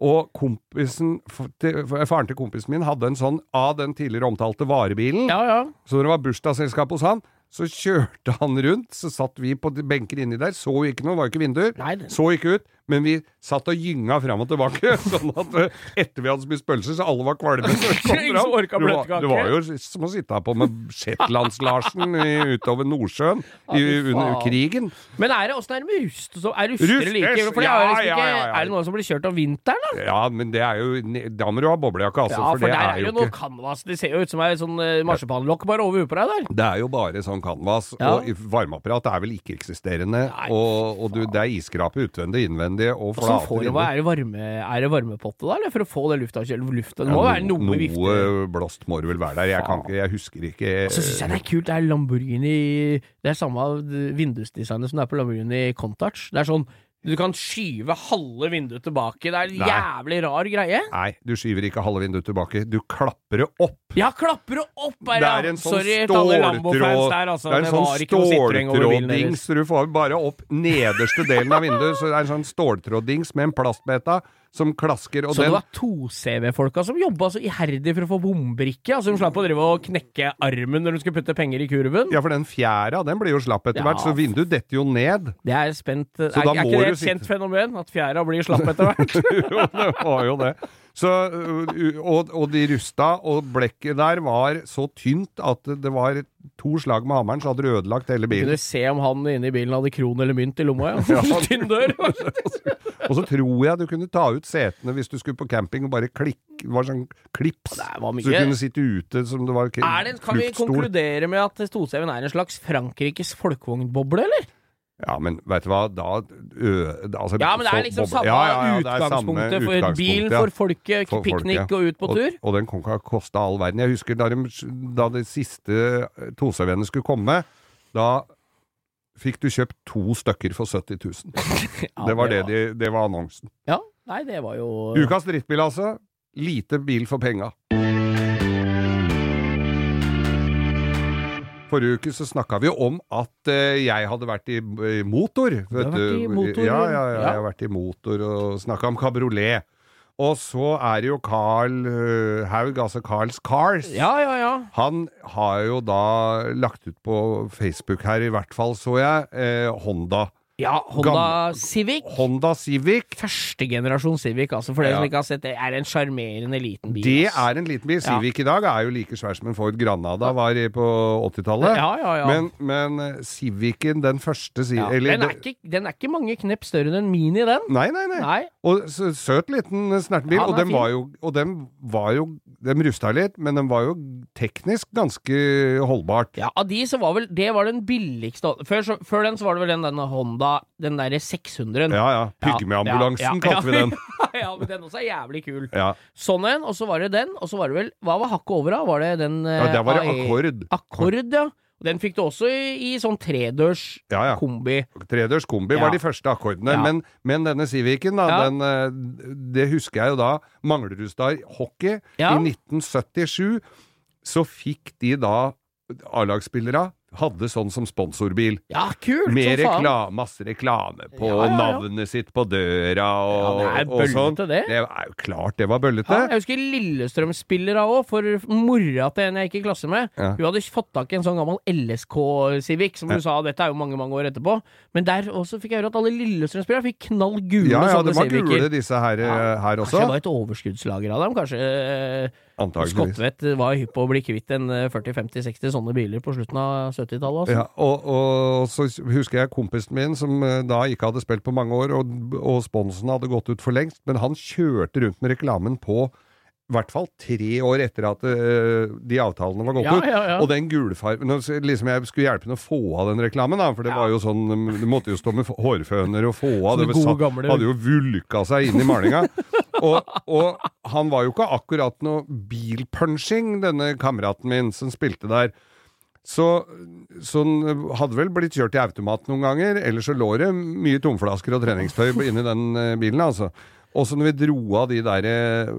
Speaker 2: Og kompisen, f- til, f- faren til kompisen min hadde en sånn av den tidligere omtalte varebilen.
Speaker 3: Ja, ja.
Speaker 2: Så når det var bursdagsselskap hos han, så kjørte han rundt. Så satt vi på de benker inni der, så jo ikke noe, var jo ikke vinduer.
Speaker 3: Nei, det-
Speaker 2: Så ikke ut, men vi satt og gynga fram og tilbake. <laughs> Sånn at eh, etter vi hadde spist pølser, så alle var kvalme. når vi
Speaker 3: <laughs>
Speaker 2: kom
Speaker 3: Ingen som
Speaker 2: fram. Det
Speaker 3: orka
Speaker 2: var-
Speaker 3: bløtkake.
Speaker 2: Det var jo som å sitte her på med Shetlands-Larsen i- utover Nordsjøen i,
Speaker 3: Ja, fy faen.
Speaker 2: under krigen.
Speaker 3: Men er det åssen er det med rust? Så er ruster
Speaker 2: Rust,
Speaker 3: like?
Speaker 2: yes,
Speaker 3: For det
Speaker 2: ja,
Speaker 3: er, jo liksom
Speaker 2: ja,
Speaker 3: ikke,
Speaker 2: ja, ja.
Speaker 3: er det noen som blir kjørt om vinteren, da?
Speaker 2: Ja, men det er jo Da må du ha boblejakke, altså.
Speaker 3: Ja, for,
Speaker 2: for det er
Speaker 3: der
Speaker 2: jo
Speaker 3: noe
Speaker 2: ikke
Speaker 3: canvas. Det ser jo ut som ei sånn eh, marsipanlokk bare over huet på deg der.
Speaker 2: det er jo bare sånn canvas,
Speaker 3: Ja.
Speaker 2: og i- varmeapparat er vel ikke-eksisterende.
Speaker 3: Nei,
Speaker 2: Og, og du, det er iskrape utvendig, innvendig og
Speaker 3: Hvordan
Speaker 2: flate
Speaker 3: får du, hva er, det varme, er det varmepotte da, eller for å få det lufta kjølt? Lufta, det må
Speaker 2: Ja,
Speaker 3: være
Speaker 2: no-
Speaker 3: noe, vifte.
Speaker 2: blåst må det vel være der. Jeg, kan ikke, jeg husker ikke
Speaker 3: Så syns jeg det er kult, det er Lamborghini Det er samme av vindusdesignet som det er på Lamborghini Contouch. Det er sånn du kan skyve halve vinduet tilbake. Det er en
Speaker 2: Nei.
Speaker 3: jævlig rar greie.
Speaker 2: Nei, du skyver ikke halve vinduet tilbake. Du klapper det opp.
Speaker 3: Ja, klapper det opp! Er
Speaker 2: Det er en sånn
Speaker 3: Sorry til alle Lambo-fans
Speaker 2: ståltråd
Speaker 3: der, altså.
Speaker 2: Det er en sånn
Speaker 3: var ikke noe sitring over bilen deres.
Speaker 2: ståltråddings. Du får bare opp nederste delen av vinduet, så det er en sånn ståltråddings med en plastbeta som klasker, og
Speaker 3: Så det
Speaker 2: den
Speaker 3: var 2CV-folka som jobba så iherdig for å få bombrikke? Altså, de slapp å drive og knekke armen når de skulle putte penger i kurven?
Speaker 2: Ja, for den fjæra, den blir jo slapp etter
Speaker 3: Ja.
Speaker 2: hvert, så vinduet detter jo ned.
Speaker 3: Det er spent Er,
Speaker 2: da
Speaker 3: er
Speaker 2: må
Speaker 3: ikke
Speaker 2: du
Speaker 3: det et
Speaker 2: sitte-
Speaker 3: kjent fenomen? At fjæra blir slapp etter hvert?
Speaker 2: <laughs> jo, det var jo det. Så, ø, u- og, og de rusta, og blekket der var så tynt at det var to slag med hammeren, så hadde du ødelagt hele
Speaker 3: Du <laughs>
Speaker 2: bilen.
Speaker 3: kunne se om han inne i bilen hadde kron eller mynt i lomma,
Speaker 2: <laughs>
Speaker 3: ja. Tynn dør.
Speaker 2: Og så tror jeg du kunne ta ut setene hvis du skulle på camping, og bare klikk, det var sånn klips.
Speaker 3: Det var mye.
Speaker 2: Så du kunne sitte ute som det var k-
Speaker 3: Er det, kan vi
Speaker 2: fluktstol.
Speaker 3: konkludere med at Stoseven er en slags Frankrikes folkevognboble, eller?
Speaker 2: Ja, men vet du hva, da ø, altså,
Speaker 3: Ja, men det er
Speaker 2: så
Speaker 3: liksom
Speaker 2: boble-
Speaker 3: samme
Speaker 2: Ja, ja, ja, det er samme
Speaker 3: utgangspunktet for bilen,
Speaker 2: ja.
Speaker 3: for folket,
Speaker 2: For folket,
Speaker 3: piknik
Speaker 2: ja.
Speaker 3: og ut på tur.
Speaker 2: Og, og den konka kosta all verden. Jeg husker da de, da de siste Tosøvennene skulle komme, da fikk du kjøpt to stykker for 70 000.
Speaker 3: Ja,
Speaker 2: det, var det, de, det var annonsen.
Speaker 3: Ja, nei, det var jo
Speaker 2: Ukas drittbil, altså. Lite bil for penga. Forrige uke så snakka vi om at eh, jeg hadde vært i i motor. Du
Speaker 3: har vært i motor,
Speaker 2: Ja, ja, ja,
Speaker 3: ja.
Speaker 2: jeg har vært i motor og snakka om kabriolet. Og så er det jo Carl eh, Haug, altså Carls Cars.
Speaker 3: Ja, ja, ja.
Speaker 2: Han har jo da lagt ut på Facebook her, i hvert fall, så jeg, eh, Honda.
Speaker 3: Ja, Honda Civic.
Speaker 2: Honda Civic.
Speaker 3: Første generasjon Civic, altså, for dere
Speaker 2: Ja.
Speaker 3: som ikke har sett det, er en sjarmerende liten bil.
Speaker 2: Det
Speaker 3: altså.
Speaker 2: er en liten bil.
Speaker 3: Ja.
Speaker 2: Civic i dag er jo like svær som en Ford Granada var i- på 80-tallet.
Speaker 3: Ja, ja, ja.
Speaker 2: Men, men eh, Civicen, den første Civ...
Speaker 3: ja.
Speaker 2: eller
Speaker 3: den, er ikke, den er ikke mange knepp større enn en Mini, den.
Speaker 2: Nei, nei, nei.
Speaker 3: Nei.
Speaker 2: Og s- søt liten snertenbil.
Speaker 3: Ja, den
Speaker 2: og
Speaker 3: er
Speaker 2: den var jo, og den var jo De rusta litt, men den var jo teknisk ganske holdbart.
Speaker 3: Ja, av de så var vel Det var den billigste før, så, før den så var det vel den denne Honda, den derre 600-en.
Speaker 2: Ja ja. Pygmeambulansen, kalte vi den.
Speaker 3: <laughs> ja, men den også er jævlig kul.
Speaker 2: Ja.
Speaker 3: Sånn en, og så var det den, og så var det vel Hva var hakket over, da? Var det den
Speaker 2: ja, der var det
Speaker 3: eh,
Speaker 2: akkord.
Speaker 3: Akkord, ja. Og Den fikk du også i, i sånn tredørs
Speaker 2: Ja, ja.
Speaker 3: kombi.
Speaker 2: Tredørs kombi
Speaker 3: Ja.
Speaker 2: var de første akkordene,
Speaker 3: Ja.
Speaker 2: men, men denne Civicen, da,
Speaker 3: Ja.
Speaker 2: den, eh, det husker jeg jo da, Manglerudstad hockey
Speaker 3: Ja.
Speaker 2: i 1977, så fikk de da A-lagsspillere hadde sånn som sponsorbil,
Speaker 3: Ja, kult!
Speaker 2: med
Speaker 3: som faen.
Speaker 2: reklame, masse reklame på
Speaker 3: Ja, ja, ja.
Speaker 2: navnet sitt på døra og,
Speaker 3: Ja, det er
Speaker 2: og sånn.
Speaker 3: bøllete, det.
Speaker 2: Det er jo klart det var bøllete.
Speaker 3: Ja, jeg husker Lillestrøm-spillere òg, for mora til en jeg gikk i klasse med.
Speaker 2: Ja.
Speaker 3: Hun hadde fått tak i en sånn gammel LSK-Civic, som du sa, dette er jo mange mange år etterpå. Men der også fikk jeg høre at alle Lillestrøm-spillere fikk knall gule
Speaker 2: Ja, ja, det
Speaker 3: sånne
Speaker 2: var gule
Speaker 3: Civicer.
Speaker 2: disse her, eh,
Speaker 3: Ja.
Speaker 2: her
Speaker 3: Kanskje det
Speaker 2: også.
Speaker 3: var et overskuddslager av dem? Kanskje eh,
Speaker 2: Antageligvis.
Speaker 3: Skottvedt var hypp på å bli kvitt en eh, 40-50-60 sånne biler på slutten av 70-tallet? Altså.
Speaker 2: Ja, og, og så husker jeg kompisen min, som eh, da ikke hadde spilt på mange år, og, og sponsen hadde gått ut for lengst, men han kjørte rundt med reklamen på i hvert fall tre år etter at eh, de avtalene var gått
Speaker 3: Ja,
Speaker 2: ut.
Speaker 3: ja, ja.
Speaker 2: Og den gulfargen nå s- liksom Jeg skulle hjelpe henne å få av den reklamen, da, for det
Speaker 3: Ja.
Speaker 2: var jo sånn um, Du måtte jo stå med f- hårføner og få av.
Speaker 3: Sånne
Speaker 2: Det var
Speaker 3: gode
Speaker 2: satt-
Speaker 3: gamle-
Speaker 2: hadde jo vulka seg inn i
Speaker 3: <laughs>
Speaker 2: malinga. og, og han var jo ikke akkurat noe bilpunching, denne kameraten min som spilte der. Så, så han hadde vel blitt kjørt i automat noen ganger, ellers så lå det mye tomflasker og treningstøy inni den eh, bilen, altså. Og så når vi dro av de der eh,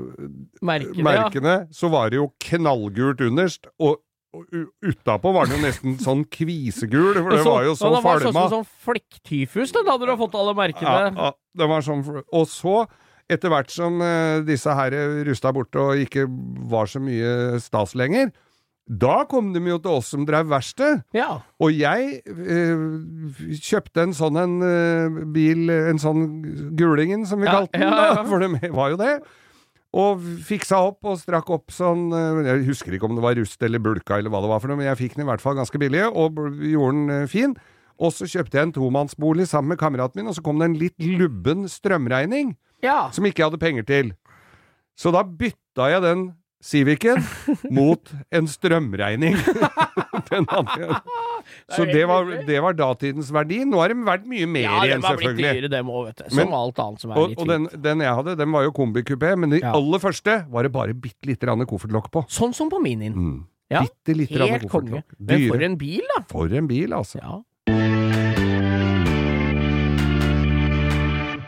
Speaker 3: Merker det, ja.
Speaker 2: merkene, så var det jo knallgult underst, og, og u- utapå var det jo nesten sånn kvisegul, for det
Speaker 3: Så-
Speaker 2: var jo så
Speaker 3: ja, det var sånn
Speaker 2: falma.
Speaker 3: som Sånn flekktyfus, den hadde du ha fått alle
Speaker 2: Ja,
Speaker 3: merkene.
Speaker 2: ja, det var sånn, og så, etter hvert som eh, disse her rusta bort og ikke var så mye stas lenger, da kom de jo til oss som drev verksted.
Speaker 3: Ja.
Speaker 2: Og jeg eh, kjøpte en sånn en eh, bil, en sånn Gulingen som vi
Speaker 3: Ja,
Speaker 2: kalte den,
Speaker 3: ja, ja.
Speaker 2: Da, for det var jo det. Og fiksa opp og strakk opp sånn eh, Jeg husker ikke om det var rust eller bulka eller hva det var for noe, men jeg fikk den i hvert fall ganske billig, og bl- gjorde den eh, fin. Og så kjøpte jeg en tomannsbolig sammen med kameraten min, og så kom det en litt lubben strømregning
Speaker 3: Ja.
Speaker 2: som ikke jeg hadde penger til. Så da bytta jeg den
Speaker 3: <laughs>
Speaker 2: Civicen mot en strømregning. den hadde jeg. Så
Speaker 3: Det er jo
Speaker 2: det var,
Speaker 3: helt nydelig.
Speaker 2: det var datidens verdi. Nå er de verdt mye mer
Speaker 3: Ja, det
Speaker 2: igjen,
Speaker 3: var blitt
Speaker 2: selvfølgelig.
Speaker 3: dyrere, dem òg, vet du. Som
Speaker 2: Men-
Speaker 3: alt annet som er
Speaker 2: Og,
Speaker 3: litt
Speaker 2: og
Speaker 3: dyrt.
Speaker 2: den, den jeg hadde, den var jo kombikupé, men de
Speaker 3: Ja.
Speaker 2: aller første var det bare bitte lite grann koffertlokk på.
Speaker 3: Sånn som på Minien.
Speaker 2: Mm.
Speaker 3: Ja,
Speaker 2: bitte lite grann
Speaker 3: Helt konge.
Speaker 2: koffertlokk.
Speaker 3: Men for
Speaker 2: Dyre.
Speaker 3: en bil, da!
Speaker 2: For en bil, altså.
Speaker 3: Ja.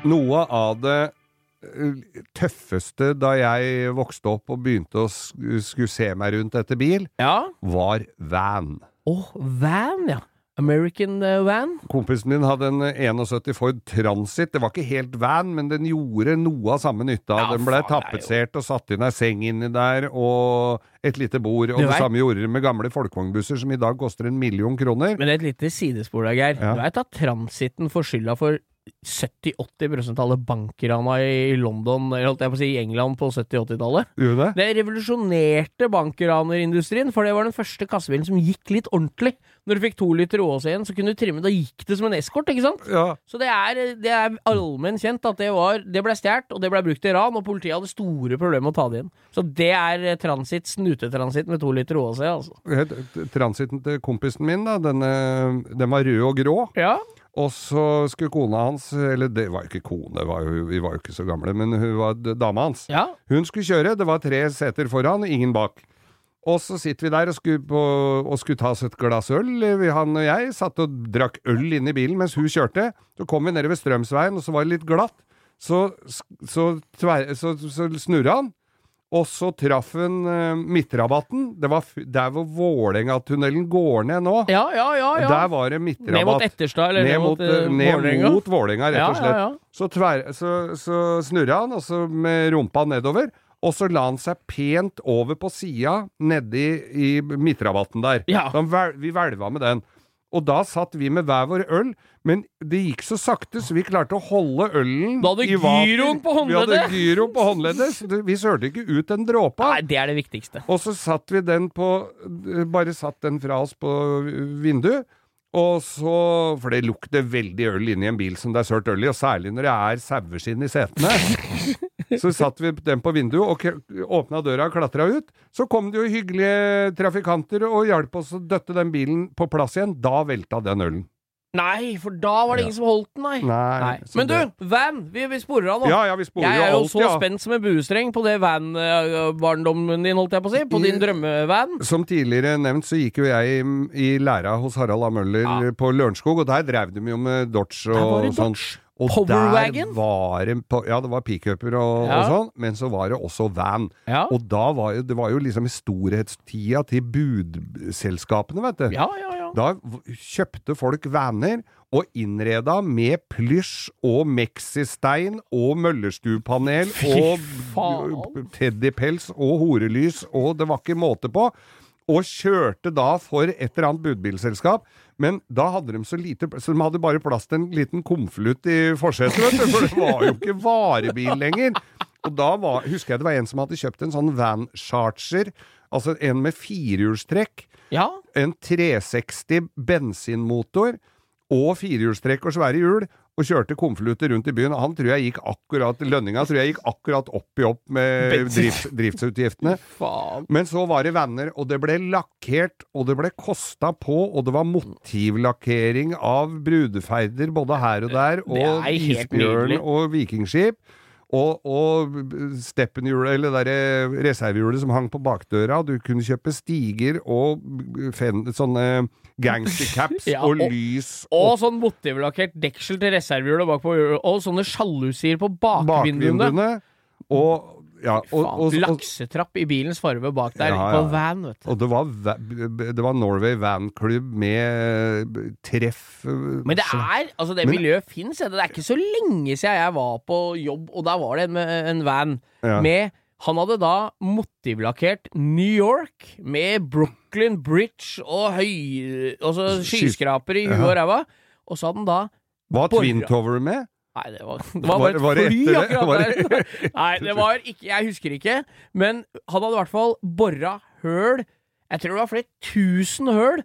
Speaker 2: Noe av det eh, tøffeste da jeg vokste opp og begynte å sk- skulle se meg rundt etter bil,
Speaker 3: ja.
Speaker 2: var van.
Speaker 3: Åh, van, ja. American eh, van.
Speaker 2: Kompisen min hadde en 71 Ford Transit. Det var ikke helt van, men den gjorde noe av samme nytta.
Speaker 3: Ja,
Speaker 2: den ble
Speaker 3: faen, det er
Speaker 2: tapetsert og satt inn ei seng inni der, og et lite bord. Og
Speaker 3: Du
Speaker 2: det
Speaker 3: vet-
Speaker 2: samme gjorde de med gamle folkevognbusser, som i dag koster en million kroner.
Speaker 3: Men et lite sidespor da, Geir.
Speaker 2: Ja.
Speaker 3: Du veit at transiten får skylda for 70-80 av alle bankrana i London, eller holdt jeg på å si i England på 70-80-tallet.
Speaker 2: Gjorde det?
Speaker 3: Det revolusjonerte bankranerindustrien, for det var den første kassebilen som gikk litt ordentlig. Når du fikk to liter Ås igjen, så kunne du trimme, da gikk det som en eskort, ikke sant?
Speaker 2: Ja.
Speaker 3: Så det er, det er allmenn kjent at det, var, det ble stjålet, og det ble brukt til ran, og politiet hadde store problemer med å ta det igjen. Så det er eh, transit, snutetransit med to liter OAC, altså.
Speaker 2: Het- Transiten til kompisen min, da, denne, den var rød og grå.
Speaker 3: Ja.
Speaker 2: Og så skulle kona hans, eller det var jo ikke kone, var jo, vi var jo ikke så gamle, men hun var d- dama hans.
Speaker 3: ja.
Speaker 2: Hun skulle kjøre, det var tre seter foran, ingen bak. Og så sitter vi der og skulle, på, og skulle ta oss et glass øl, vi- han og jeg. Satt og drakk øl inne i bilen mens hun kjørte. Så kom vi nede ved Strømsveien, og så var det litt glatt. Så, s- så, tver, så, så snurra han, og så traff hun eh, midtrabatten. Det var f- der hvor Vålerenga-tunnelen går ned nå.
Speaker 3: Ja, ja, ja. ja.
Speaker 2: Der var det
Speaker 3: ned mot
Speaker 2: midtrabatt.
Speaker 3: Etterstad, eller
Speaker 2: Ned mot, eh, ned mot Vålerenga, rett og slett.
Speaker 3: Ja, ja, ja.
Speaker 2: Så, tver, så, så snurra han, og så med rumpa nedover. Og så la han seg pent over på sida nedi i midtrabatten der.
Speaker 3: Ja.
Speaker 2: Så han vel, vi hvelva med den. Og da satt vi med hver vår øl, men det gikk så sakte, så vi klarte å holde ølen
Speaker 3: Du hadde
Speaker 2: i vater.
Speaker 3: gyroen på håndleddet.
Speaker 2: Vi hadde gyroen på håndleddet, så det- vi sørte ikke ut en dråpe.
Speaker 3: Nei, det er det viktigste.
Speaker 2: Og så satt vi den på Bare satt den fra oss på vinduet. Og så For det lukter veldig øl inni en bil som det er sølt øl i, og særlig når det er saueskinn i setene. Så satt vi den på vinduet og k- åpna døra og klatra ut. Så kom det jo hyggelige trafikanter og hjalp oss å døtte den bilen på plass igjen. Da velta den ølen.
Speaker 3: Nei, for da var det ingen som holdt den, nei.
Speaker 2: Nei, så
Speaker 3: Men du,
Speaker 2: det-
Speaker 3: van, vi, vi sporer av nå.
Speaker 2: Ja, ja, vi sporer
Speaker 3: jeg er jo
Speaker 2: alt,
Speaker 3: så
Speaker 2: ja.
Speaker 3: spent som en buestreng på det van-barndommen din, holdt jeg på å si. På din drømmevan.
Speaker 2: Som tidligere nevnt, så gikk jo jeg i, i læra hos Harald A. Møller
Speaker 3: Ja.
Speaker 2: på Lørenskog, og der drev de jo med Dodge
Speaker 3: Der var
Speaker 2: og
Speaker 3: det
Speaker 2: sånn. Og
Speaker 3: Powerwagon?
Speaker 2: der var det på- Ja, det var pickuper og,
Speaker 3: Ja.
Speaker 2: og sånn, men så var det også van.
Speaker 3: Ja.
Speaker 2: Og da var jo, det var jo liksom i storhetstida til budselskapene, vet du.
Speaker 3: Ja, ja, ja.
Speaker 2: Da v- kjøpte folk vaner og innreda med plysj og meksistein og møllerstuepanel og
Speaker 3: faen.
Speaker 2: teddypels og horelys og det var ikke måte på. Og kjørte da for et eller annet budbilselskap. Men da hadde de så lite pl- Så de hadde bare plass til en liten konvolutt i forsetet, vet du. For det var jo ikke varebil lenger. Og da var, husker jeg det var en som hadde kjøpt en sånn van charger. Altså en med firehjulstrekk
Speaker 3: ja.
Speaker 2: en 360 bensinmotor og firehjulstrekk og svære hjul, og kjørte konvolutter rundt i byen. Han tror jeg gikk akkurat lønninga tror jeg gikk akkurat opp i opp med
Speaker 3: Bensin.
Speaker 2: drifts, driftsutgiftene.
Speaker 3: Faen.
Speaker 2: Men så var det venner, og det ble lakkert, og det ble kosta på, og det var motivlakkering av brudeferder både her og der,
Speaker 3: Det er
Speaker 2: og
Speaker 3: helt
Speaker 2: isbjørn
Speaker 3: nydelig.
Speaker 2: og vikingskip. Og, og steppenhjulet, eller det der reservehjulet som hang på bakdøra, og du kunne kjøpe stiger og fen, sånne gangstercaps
Speaker 3: <laughs> Ja,
Speaker 2: og,
Speaker 3: og-
Speaker 2: lys
Speaker 3: Og sånn motivlakkert deksel til reservehjulet bakpå, og sånne sjalusier på bakvinduene.
Speaker 2: bakvinduene. Og, ja, og,
Speaker 3: Faen,
Speaker 2: og, og,
Speaker 3: Laksetrapp i bilens farve bak der,
Speaker 2: Ja, ja.
Speaker 3: på van, vet du.
Speaker 2: Og det var, va- det var Norway Van Club med eh, treff eh,
Speaker 3: Men det
Speaker 2: så-
Speaker 3: er, altså det
Speaker 2: Men-
Speaker 3: miljøet fins. Det er ikke så lenge siden jeg var på jobb, og der var det en, en van
Speaker 2: Ja.
Speaker 3: med Han hadde da motivlakkert New York med Brooklyn Bridge og høy, altså
Speaker 2: Sky-
Speaker 3: skyskraper i huet
Speaker 2: Ja.
Speaker 3: og ræva. Og så hadde han da
Speaker 2: Var
Speaker 3: Borra.
Speaker 2: Twin Tower med?
Speaker 3: Nei, det
Speaker 2: <laughs>
Speaker 3: var, det
Speaker 2: Var-
Speaker 3: var bare et
Speaker 2: var det
Speaker 3: fly
Speaker 2: etter det? Var
Speaker 3: akkurat
Speaker 2: det-
Speaker 3: der.
Speaker 2: <laughs>
Speaker 3: Nei, det var ikke Jeg husker ikke. Men han hadde i hvert fall bora høl Jeg tror det var flere tusen høl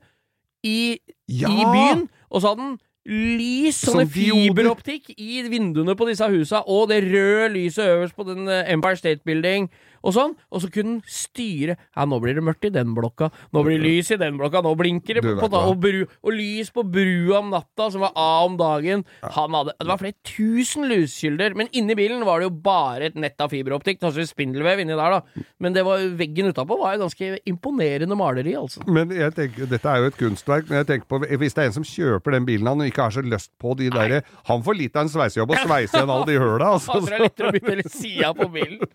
Speaker 3: i, i byen. Og så hadde han lys, sånne
Speaker 2: Som dioder.
Speaker 3: fiberoptikk, i vinduene på disse husa. Og det røde lyset øverst på den eh, Empire State Building. Og sånn, og så kunne han styre Ja, nå blir det mørkt i den blokka, nå blir det lys i den blokka, nå blinker det
Speaker 2: Du
Speaker 3: på,
Speaker 2: vet
Speaker 3: på da,
Speaker 2: hva.
Speaker 3: og, bru, og lys på brua om natta, som var A om dagen. Han hadde, det var flere tusen lyskilder, men inni bilen var det jo bare et nett av fiberoptikk. Kanskje spindelvev inni der, da. Men det var, veggen utapå var jo ganske imponerende maleri, altså.
Speaker 2: Men jeg tenker, dette er jo et kunstverk, men jeg tenker på, hvis det er en som kjøper den bilen han og ikke har så lyst på de derre Han får litt av en sveisejobb å sveise igjen alle de høla, altså.
Speaker 3: Passer det er lettere å bytte litt sida på bilen.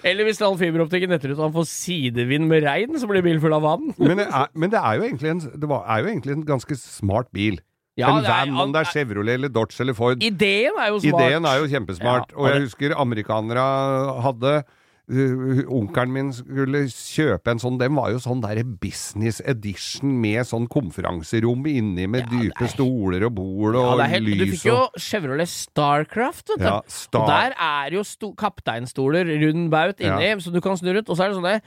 Speaker 3: Eller hvis all fiberoptikken detter ut og han får sidevind med regn, så blir bilen full av vann.
Speaker 2: Men det er, men det er, jo, egentlig en, det var, er jo egentlig en ganske smart bil.
Speaker 3: Ja,
Speaker 2: en
Speaker 3: det er-
Speaker 2: van, om det er
Speaker 3: han-
Speaker 2: Chevrolet eller Dodge eller Ford.
Speaker 3: Ideen er jo smart.
Speaker 2: Ideen er jo kjempesmart.
Speaker 3: Ja,
Speaker 2: og
Speaker 3: og
Speaker 2: jeg husker amerikanere hadde uh, Onkelen min skulle kjøpe en sånn. Den var jo sånn der business edition med sånn konferanserom inni med dype stoler og bord
Speaker 3: Ja,
Speaker 2: og
Speaker 3: det er helt, du
Speaker 2: lys
Speaker 3: fikk jo
Speaker 2: og
Speaker 3: Chevrolet Starcraft, vet du.
Speaker 2: Ja, Star-
Speaker 3: Og der er jo sto- kapteinstoler rund baut inni,
Speaker 2: Ja.
Speaker 3: så du kan snu rundt. Og så er det sånne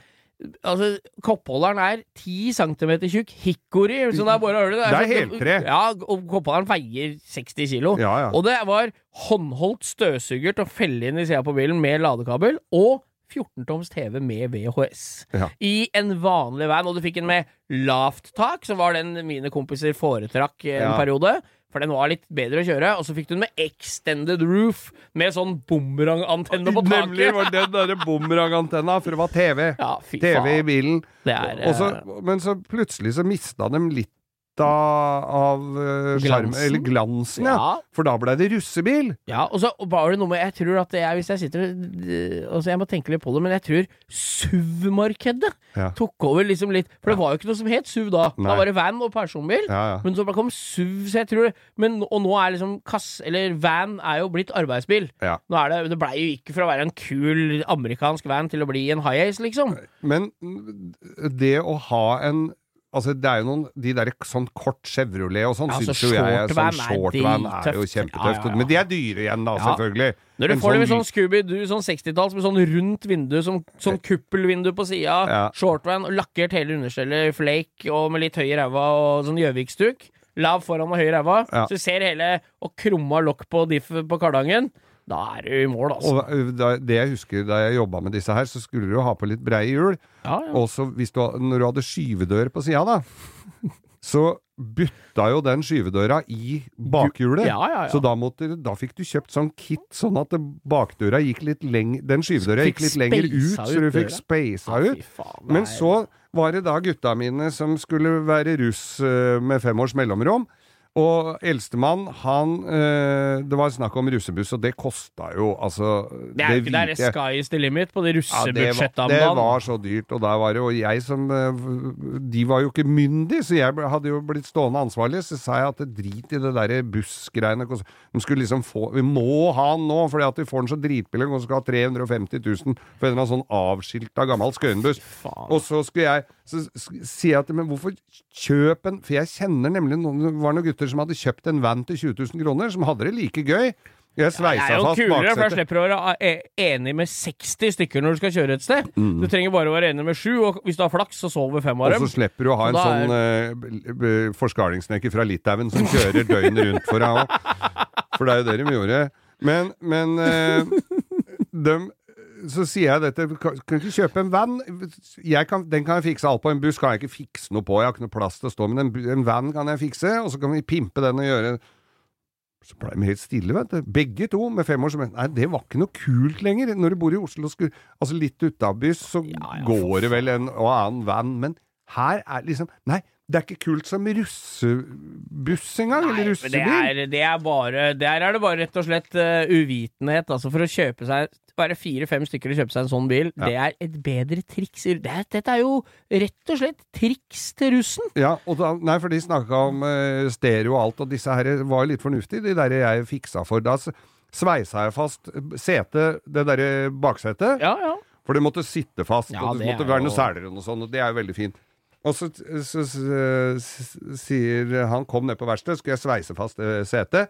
Speaker 3: Altså, Koppholderen er 10 cm tjukk hickory. Så det er bare hølet.
Speaker 2: Det er
Speaker 3: sånn-
Speaker 2: heltre.
Speaker 3: Ja, og koppholderen veier 60 kilo.
Speaker 2: Ja, ja.
Speaker 3: Og det var håndholdt støvsuger til å felle inn i sida på bilen med ladekabel, og 14 toms TV med VHS.
Speaker 2: Ja.
Speaker 3: I en vanlig van, og du fikk en med lavt tak, som var den mine kompiser foretrakk eh,
Speaker 2: Ja.
Speaker 3: en periode. For den var litt bedre å kjøre. Og så fikk du den med extended roof, med sånn bumerangantenne på taket.
Speaker 2: Nemlig var den derre bumerangantenna, for det var TV.
Speaker 3: Ja, fy
Speaker 2: TV i
Speaker 3: faen.
Speaker 2: bilen.
Speaker 3: Det er
Speaker 2: Og så-
Speaker 3: eh,
Speaker 2: men så plutselig så mista de litt av, av eh, sjarm-
Speaker 3: Glansen?
Speaker 2: Eller glansen, ja.
Speaker 3: Ja.
Speaker 2: For da blei det russebil.
Speaker 3: Ja, og så var det noe med Jeg tror at jeg, hvis jeg sitter øh, Altså, jeg må tenke litt på det, men jeg tror SUV-markedet
Speaker 2: Ja.
Speaker 3: tok over liksom litt For det var jo ikke noe som het SUV da.
Speaker 2: Nei.
Speaker 3: Da var det van og personbil.
Speaker 2: Ja, ja.
Speaker 3: Men så bare kom SUV, så jeg tror det men, Og nå er liksom kass... Eller van er jo blitt arbeidsbil.
Speaker 2: Ja.
Speaker 3: Nå er det, det blei jo ikke fra å være en kul amerikansk van til å bli en high-ace, liksom.
Speaker 2: Men det å ha en Altså, det er jo noen De der sånn kort Chevrolet og sånn,
Speaker 3: Ja,
Speaker 2: syns
Speaker 3: altså,
Speaker 2: jo jeg er
Speaker 3: shortvan
Speaker 2: sånn
Speaker 3: er
Speaker 2: shortvan er, jo
Speaker 3: drittøft.
Speaker 2: kjempetøft.
Speaker 3: Ja, ja, ja.
Speaker 2: Men de er dyre igjen, da,
Speaker 3: Ja.
Speaker 2: selvfølgelig.
Speaker 3: Når du
Speaker 2: En
Speaker 3: får det med
Speaker 2: sånn-
Speaker 3: sånn Scooby-Doo, sånn 60-talls, med sånn rundt vindu, sånn, sånn kuppelvindu på sida,
Speaker 2: Ja.
Speaker 3: shortvan, og lakkert hele understellet, flake, og med litt høy i ræva og sånn Gjøvik-stuk. Lav foran og høy i ræva.
Speaker 2: Ja.
Speaker 3: Så du ser hele og krumma lokk på diff på kardangen. Da er du i mål, altså.
Speaker 2: og uh, da, det jeg husker da jeg jobba med disse her, så skulle du jo ha på litt breie hjul.
Speaker 3: ja, ja.
Speaker 2: Og så Altså, hvis du, ha- når du hadde skyvedør på sida, da, <laughs> så butta jo den skyvedøra i bakhjulet.
Speaker 3: Ja, ja, ja.
Speaker 2: Så da, måtte, da fikk du kjøpt sånn kit, sånn at det- bakdøra gikk litt leng, den skyvedøra
Speaker 3: Fikk
Speaker 2: gikk litt lenger ut,
Speaker 3: speisa
Speaker 2: så du
Speaker 3: ut
Speaker 2: fikk
Speaker 3: døra.
Speaker 2: speisa
Speaker 3: Ja,
Speaker 2: ut.
Speaker 3: fy faen, det
Speaker 2: Men
Speaker 3: er-
Speaker 2: så var det da gutta mine som skulle være russ eh, med fem års mellomrom. Og eldstemann, han eh, Det var snakk om russebuss, og det kosta jo altså
Speaker 3: Det er jo ikke der
Speaker 2: hvite-
Speaker 3: sky is the limit på de
Speaker 2: ja, det,
Speaker 3: russebudsjetta
Speaker 2: var,
Speaker 3: om
Speaker 2: det
Speaker 3: dagen.
Speaker 2: var så dyrt, og der var det jo jeg som eh, De var jo ikke myndige, så jeg ble- hadde jo blitt stående ansvarlig. Så sa jeg at det drit i det derre bussgreiene. kos- De skulle liksom få Vi må ha den nå, fordi at vi får den så dritbillig, og skal ha 350 000 for en eller annen sånn avskilta gammel Skøyenbuss.
Speaker 3: faen.
Speaker 2: Og så skulle jeg Så sk- sier jeg til Men hvorfor kjøp en For jeg kjenner nemlig noen Det var noen gutter som hadde kjøpt en van til 20 000 kroner, som hadde det like gøy. Jeg
Speaker 3: Det
Speaker 2: sveisa
Speaker 3: er jo
Speaker 2: fast
Speaker 3: kulere, for da
Speaker 2: baksetet.
Speaker 3: slipper du å være eh, enig med 60 stykker når du skal kjøre et sted. Du trenger bare å være enig med sju, og hvis du har flaks, så sover fem av
Speaker 2: Mm. Og
Speaker 3: dem.
Speaker 2: så slipper du å ha en
Speaker 3: Og da
Speaker 2: sånn eh, b- b- forskarlingssnekker fra Litauen som kjører døgnet rundt for deg òg. For det er jo det de gjorde. Men, men eh, dem- Så sier jeg dette Kan kan du ikke kjøpe en van? Jeg kan, den kan jeg fikse alt på. En buss kan jeg ikke fikse noe på. Jeg har ikke noe plass til å stå. Men en, bu- en van kan jeg fikse, og så kan vi pimpe den og gjøre Så ble de helt stille, vet du. Begge to med fem år. Så men, nei, det var ikke noe kult lenger. Når du bor i Oslo, skulle, altså litt utabys, så
Speaker 3: Ja, ja,
Speaker 2: går det vel en og annen van. Men her er liksom Nei, det er ikke kult som russebuss engang. eller
Speaker 3: men det
Speaker 2: russebil.
Speaker 3: er, det er bare Der er det bare rett og slett eh, uvitenhet. Altså For å kjøpe seg Være fire-fem stykker og kjøpe seg en sånn bil,
Speaker 2: Ja.
Speaker 3: det er et bedre triks. i- Det er, dette er jo rett og slett triks til russen.
Speaker 2: Ja, og da, nei, for de snakka om eh, stereo og alt, og disse her var litt fornuftige, de der jeg fiksa for. Da s- sveisa jeg fast eh, setet, det derre baksetet,
Speaker 3: Ja, ja.
Speaker 2: for det måtte sitte fast,
Speaker 3: Ja,
Speaker 2: og det,
Speaker 3: det
Speaker 2: måtte
Speaker 3: er
Speaker 2: være
Speaker 3: jo-
Speaker 2: noe seler og noe sånt, og det er jo veldig fint. Og så, så, så s- sier han kom ned på verkstedet, skulle jeg sveise fast eh, setet.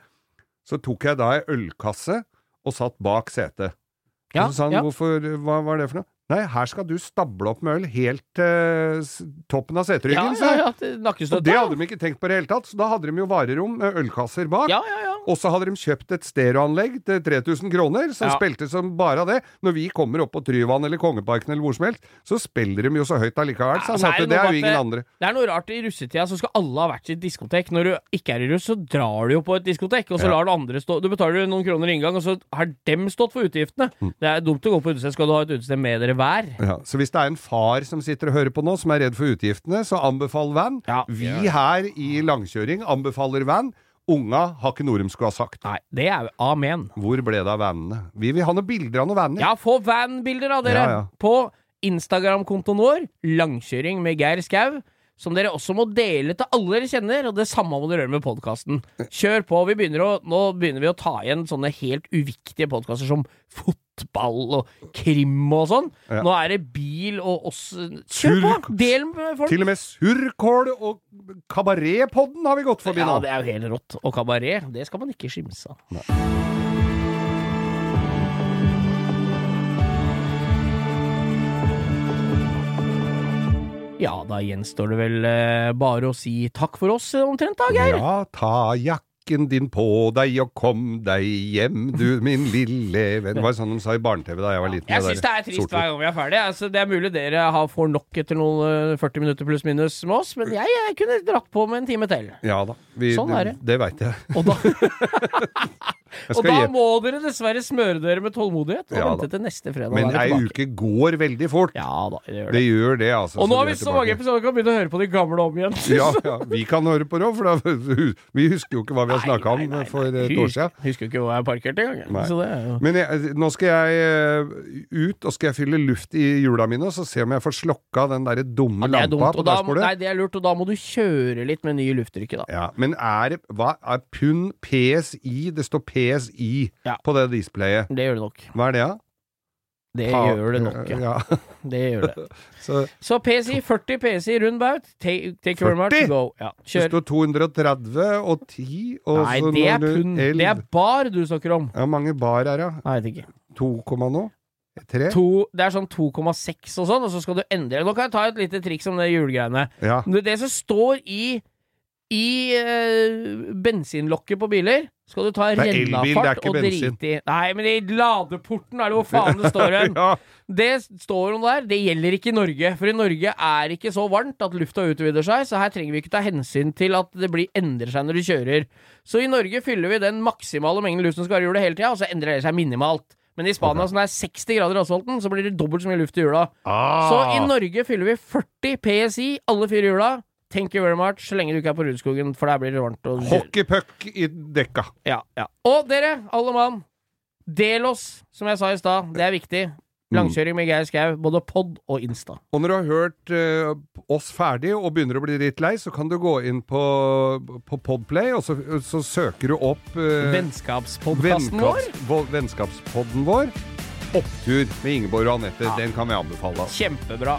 Speaker 2: Så tok jeg da ei ølkasse og satt bak setet.
Speaker 3: ja,
Speaker 2: og så sa han
Speaker 3: ja.
Speaker 2: hvorfor, hva var det for noe? Nei, her skal du stable opp med øl helt til s- toppen av
Speaker 3: ja,
Speaker 2: seteryggen, sa
Speaker 3: ja,
Speaker 2: jeg.
Speaker 3: ja, til
Speaker 2: Og
Speaker 3: nakkestøtta.
Speaker 2: det hadde de ikke tenkt på i det hele tatt, så da hadde de jo varerom med ølkasser bak.
Speaker 3: Ja, ja, ja.
Speaker 2: Og så hadde de kjøpt et stereoanlegg til 3000 kroner, som
Speaker 3: Ja.
Speaker 2: spilte som bare av det. Når vi kommer opp på Tryvann eller Kongeparken eller hvor som helst, så spiller de jo så høyt allikevel, sa han.
Speaker 3: Ja, så er
Speaker 2: at
Speaker 3: det
Speaker 2: det er
Speaker 3: noe med
Speaker 2: jo
Speaker 3: at
Speaker 2: ingen
Speaker 3: det-
Speaker 2: andre.
Speaker 3: Det er noe rart i russetida, så skal alle ha hvert sitt diskotek. Når du ikke er i russ, så drar du jo på et diskotek, og så
Speaker 2: Ja.
Speaker 3: lar du andre stå Du betaler jo noen kroner inngang, og så har dem stått for utgiftene.
Speaker 2: Mm.
Speaker 3: Det er dumt å gå på utested, skal du ha et utested med dere hver?
Speaker 2: Ja, så hvis det er en far som sitter og hører på nå, som er redd for utgiftene, så anbefal van.
Speaker 3: Ja.
Speaker 2: Vi her i langkjøring anbefaler van. Unga har ikke noe de skulle ha sagt.
Speaker 3: Nei, det er jo amen.
Speaker 2: Hvor ble det av vanene? Vi vil ha noen bilder av noen vaner.
Speaker 3: Ja, få van-bilder av dere
Speaker 2: Ja, ja.
Speaker 3: på Instagram-kontoen vår, Langkjøring med Geir Skau. Som dere også må dele til alle dere kjenner, og det samme må dere gjøre med podkasten. Kjør på. vi begynner å, Nå begynner vi å ta igjen sånne helt uviktige podkaster som fotball og krim og sånn.
Speaker 2: Ja.
Speaker 3: Nå er det bil og oss Kjør på!
Speaker 2: Surr-
Speaker 3: Del med folk!
Speaker 2: Til og med surkål og kabaretpodden har vi gått forbi
Speaker 3: Ja,
Speaker 2: nå.
Speaker 3: det er jo helt rått. Og kabaret, det skal man ikke skimse av. Ja, da gjenstår det vel eh, bare å si takk for oss, eh, omtrent, da, Geir.
Speaker 2: Ja, ta jakken din på deg og kom deg hjem, du min lille venn. Det var sånn de sa i barne-TV da jeg var liten.
Speaker 3: Jeg syns det er trist hver gang vi er ferdige. Altså, det er mulig dere har får nok etter noen eh, 40 minutter pluss minus med oss, men jeg, jeg kunne dratt på med en time til.
Speaker 2: Ja da. Vi,
Speaker 3: Sånn er
Speaker 2: det.
Speaker 3: det.
Speaker 2: Det veit jeg. <laughs>
Speaker 3: Og da,
Speaker 2: jeg
Speaker 3: og
Speaker 2: skal
Speaker 3: da
Speaker 2: hjem.
Speaker 3: må dere dessverre smøre dere med tålmodighet og
Speaker 2: Ja,
Speaker 3: vente til neste fredag. da
Speaker 2: Men
Speaker 3: er vi
Speaker 2: ei
Speaker 3: tilbake.
Speaker 2: uke går veldig fort.
Speaker 3: Ja da, det gjør det.
Speaker 2: Det gjør det, altså.
Speaker 3: Og nå
Speaker 2: så
Speaker 3: har
Speaker 2: vi
Speaker 3: vi
Speaker 2: er
Speaker 3: så mange
Speaker 2: tilbake.
Speaker 3: episoder, kan vi begynne å høre på de gamle om igjen.
Speaker 2: <laughs>
Speaker 3: <laughs>
Speaker 2: ja, ja, vi kan høre på det òg, for da, <laughs> vi husker jo ikke hva vi har snakka om for et år siden.
Speaker 3: Husker jo ikke hvor jeg parkerte engang.
Speaker 2: Nei.
Speaker 3: Så det er jo
Speaker 2: Men jeg, nå skal jeg eh, ut, og skal jeg fylle luft i hjula mine, og så se om jeg får slokka den derre dumme
Speaker 3: det er
Speaker 2: lampa
Speaker 3: dumt.
Speaker 2: på
Speaker 3: Og da,
Speaker 2: dashbordet.
Speaker 3: nei, det er lurt, og da må du kjøre litt med ny luftrykke, da.
Speaker 2: Ja, men er, det- hva er pund PSI? Det står PSI
Speaker 3: Ja.
Speaker 2: på det displayet.
Speaker 3: Det gjør det nok.
Speaker 2: Hva er det, da?
Speaker 3: Det
Speaker 2: Pa-
Speaker 3: gjør det nok, ja.
Speaker 2: <laughs> ja.
Speaker 3: Det gjør
Speaker 2: <laughs>
Speaker 3: det.
Speaker 2: Så
Speaker 3: Så PSI, 40 PSI rund baut. Take, take your mark,
Speaker 2: 40?
Speaker 3: go. Ja,
Speaker 2: det
Speaker 3: kjør.
Speaker 2: står 230 og 10 og
Speaker 3: Nei,
Speaker 2: så
Speaker 3: det
Speaker 2: når
Speaker 3: er
Speaker 2: du-
Speaker 3: pund. Det er
Speaker 2: 11.
Speaker 3: bar du snakker om.
Speaker 2: Ja, mange bar er det.
Speaker 3: Nei, jeg vet ikke.
Speaker 2: 2, komma nå? 3?
Speaker 3: To, det er sånn 2,6 og sånn, og så skal du endre. Nå kan jeg ta et lite triks om det julegreiene.
Speaker 2: Ja.
Speaker 3: Det, det som står i i eh, bensinlokket på biler skal du ta
Speaker 2: Det er elbil, det er
Speaker 3: rennafart
Speaker 2: ikke
Speaker 3: og
Speaker 2: bensin.
Speaker 3: drite i. Nei, men i ladeporten er det hvor faen
Speaker 2: <laughs>
Speaker 3: det står hen.
Speaker 2: ja.
Speaker 3: Det står noe der. Det gjelder ikke i Norge. For i Norge er det ikke så varmt at lufta utvider seg, så her trenger vi ikke ta hensyn til at det blir, endrer seg når du kjører. Så i Norge fyller vi den maksimale mengden luft som skal være i hjulet hele tida, og så endrer det seg minimalt. Men i Spania, som det er 60 grader i asfalten, så blir det dobbelt så mye luft i hjula. Så
Speaker 2: Ah.
Speaker 3: i Norge fyller vi 40 PSI, alle fire hjula. Thank you very much, så lenge du ikke er på Rudskogen, for der blir det varmt. Og,
Speaker 2: Hockeypuck i dekka.
Speaker 3: ja, ja. og dere, alle mann, del oss, som jeg sa i stad. Det er viktig.
Speaker 2: Mm.
Speaker 3: Langkjøring med Geir Skau, både pod og Insta.
Speaker 2: Og når du har hørt eh, oss ferdig og begynner å bli litt lei, så kan du gå inn på, på Podplay, og så, så søker du opp eh,
Speaker 3: Vennskapspodkasten vår.
Speaker 2: Vennskaps- vår- Vennskapspodden vår. Opptur med Ingeborg og Anette. Den kan vi anbefale. altså.
Speaker 3: Kjempebra.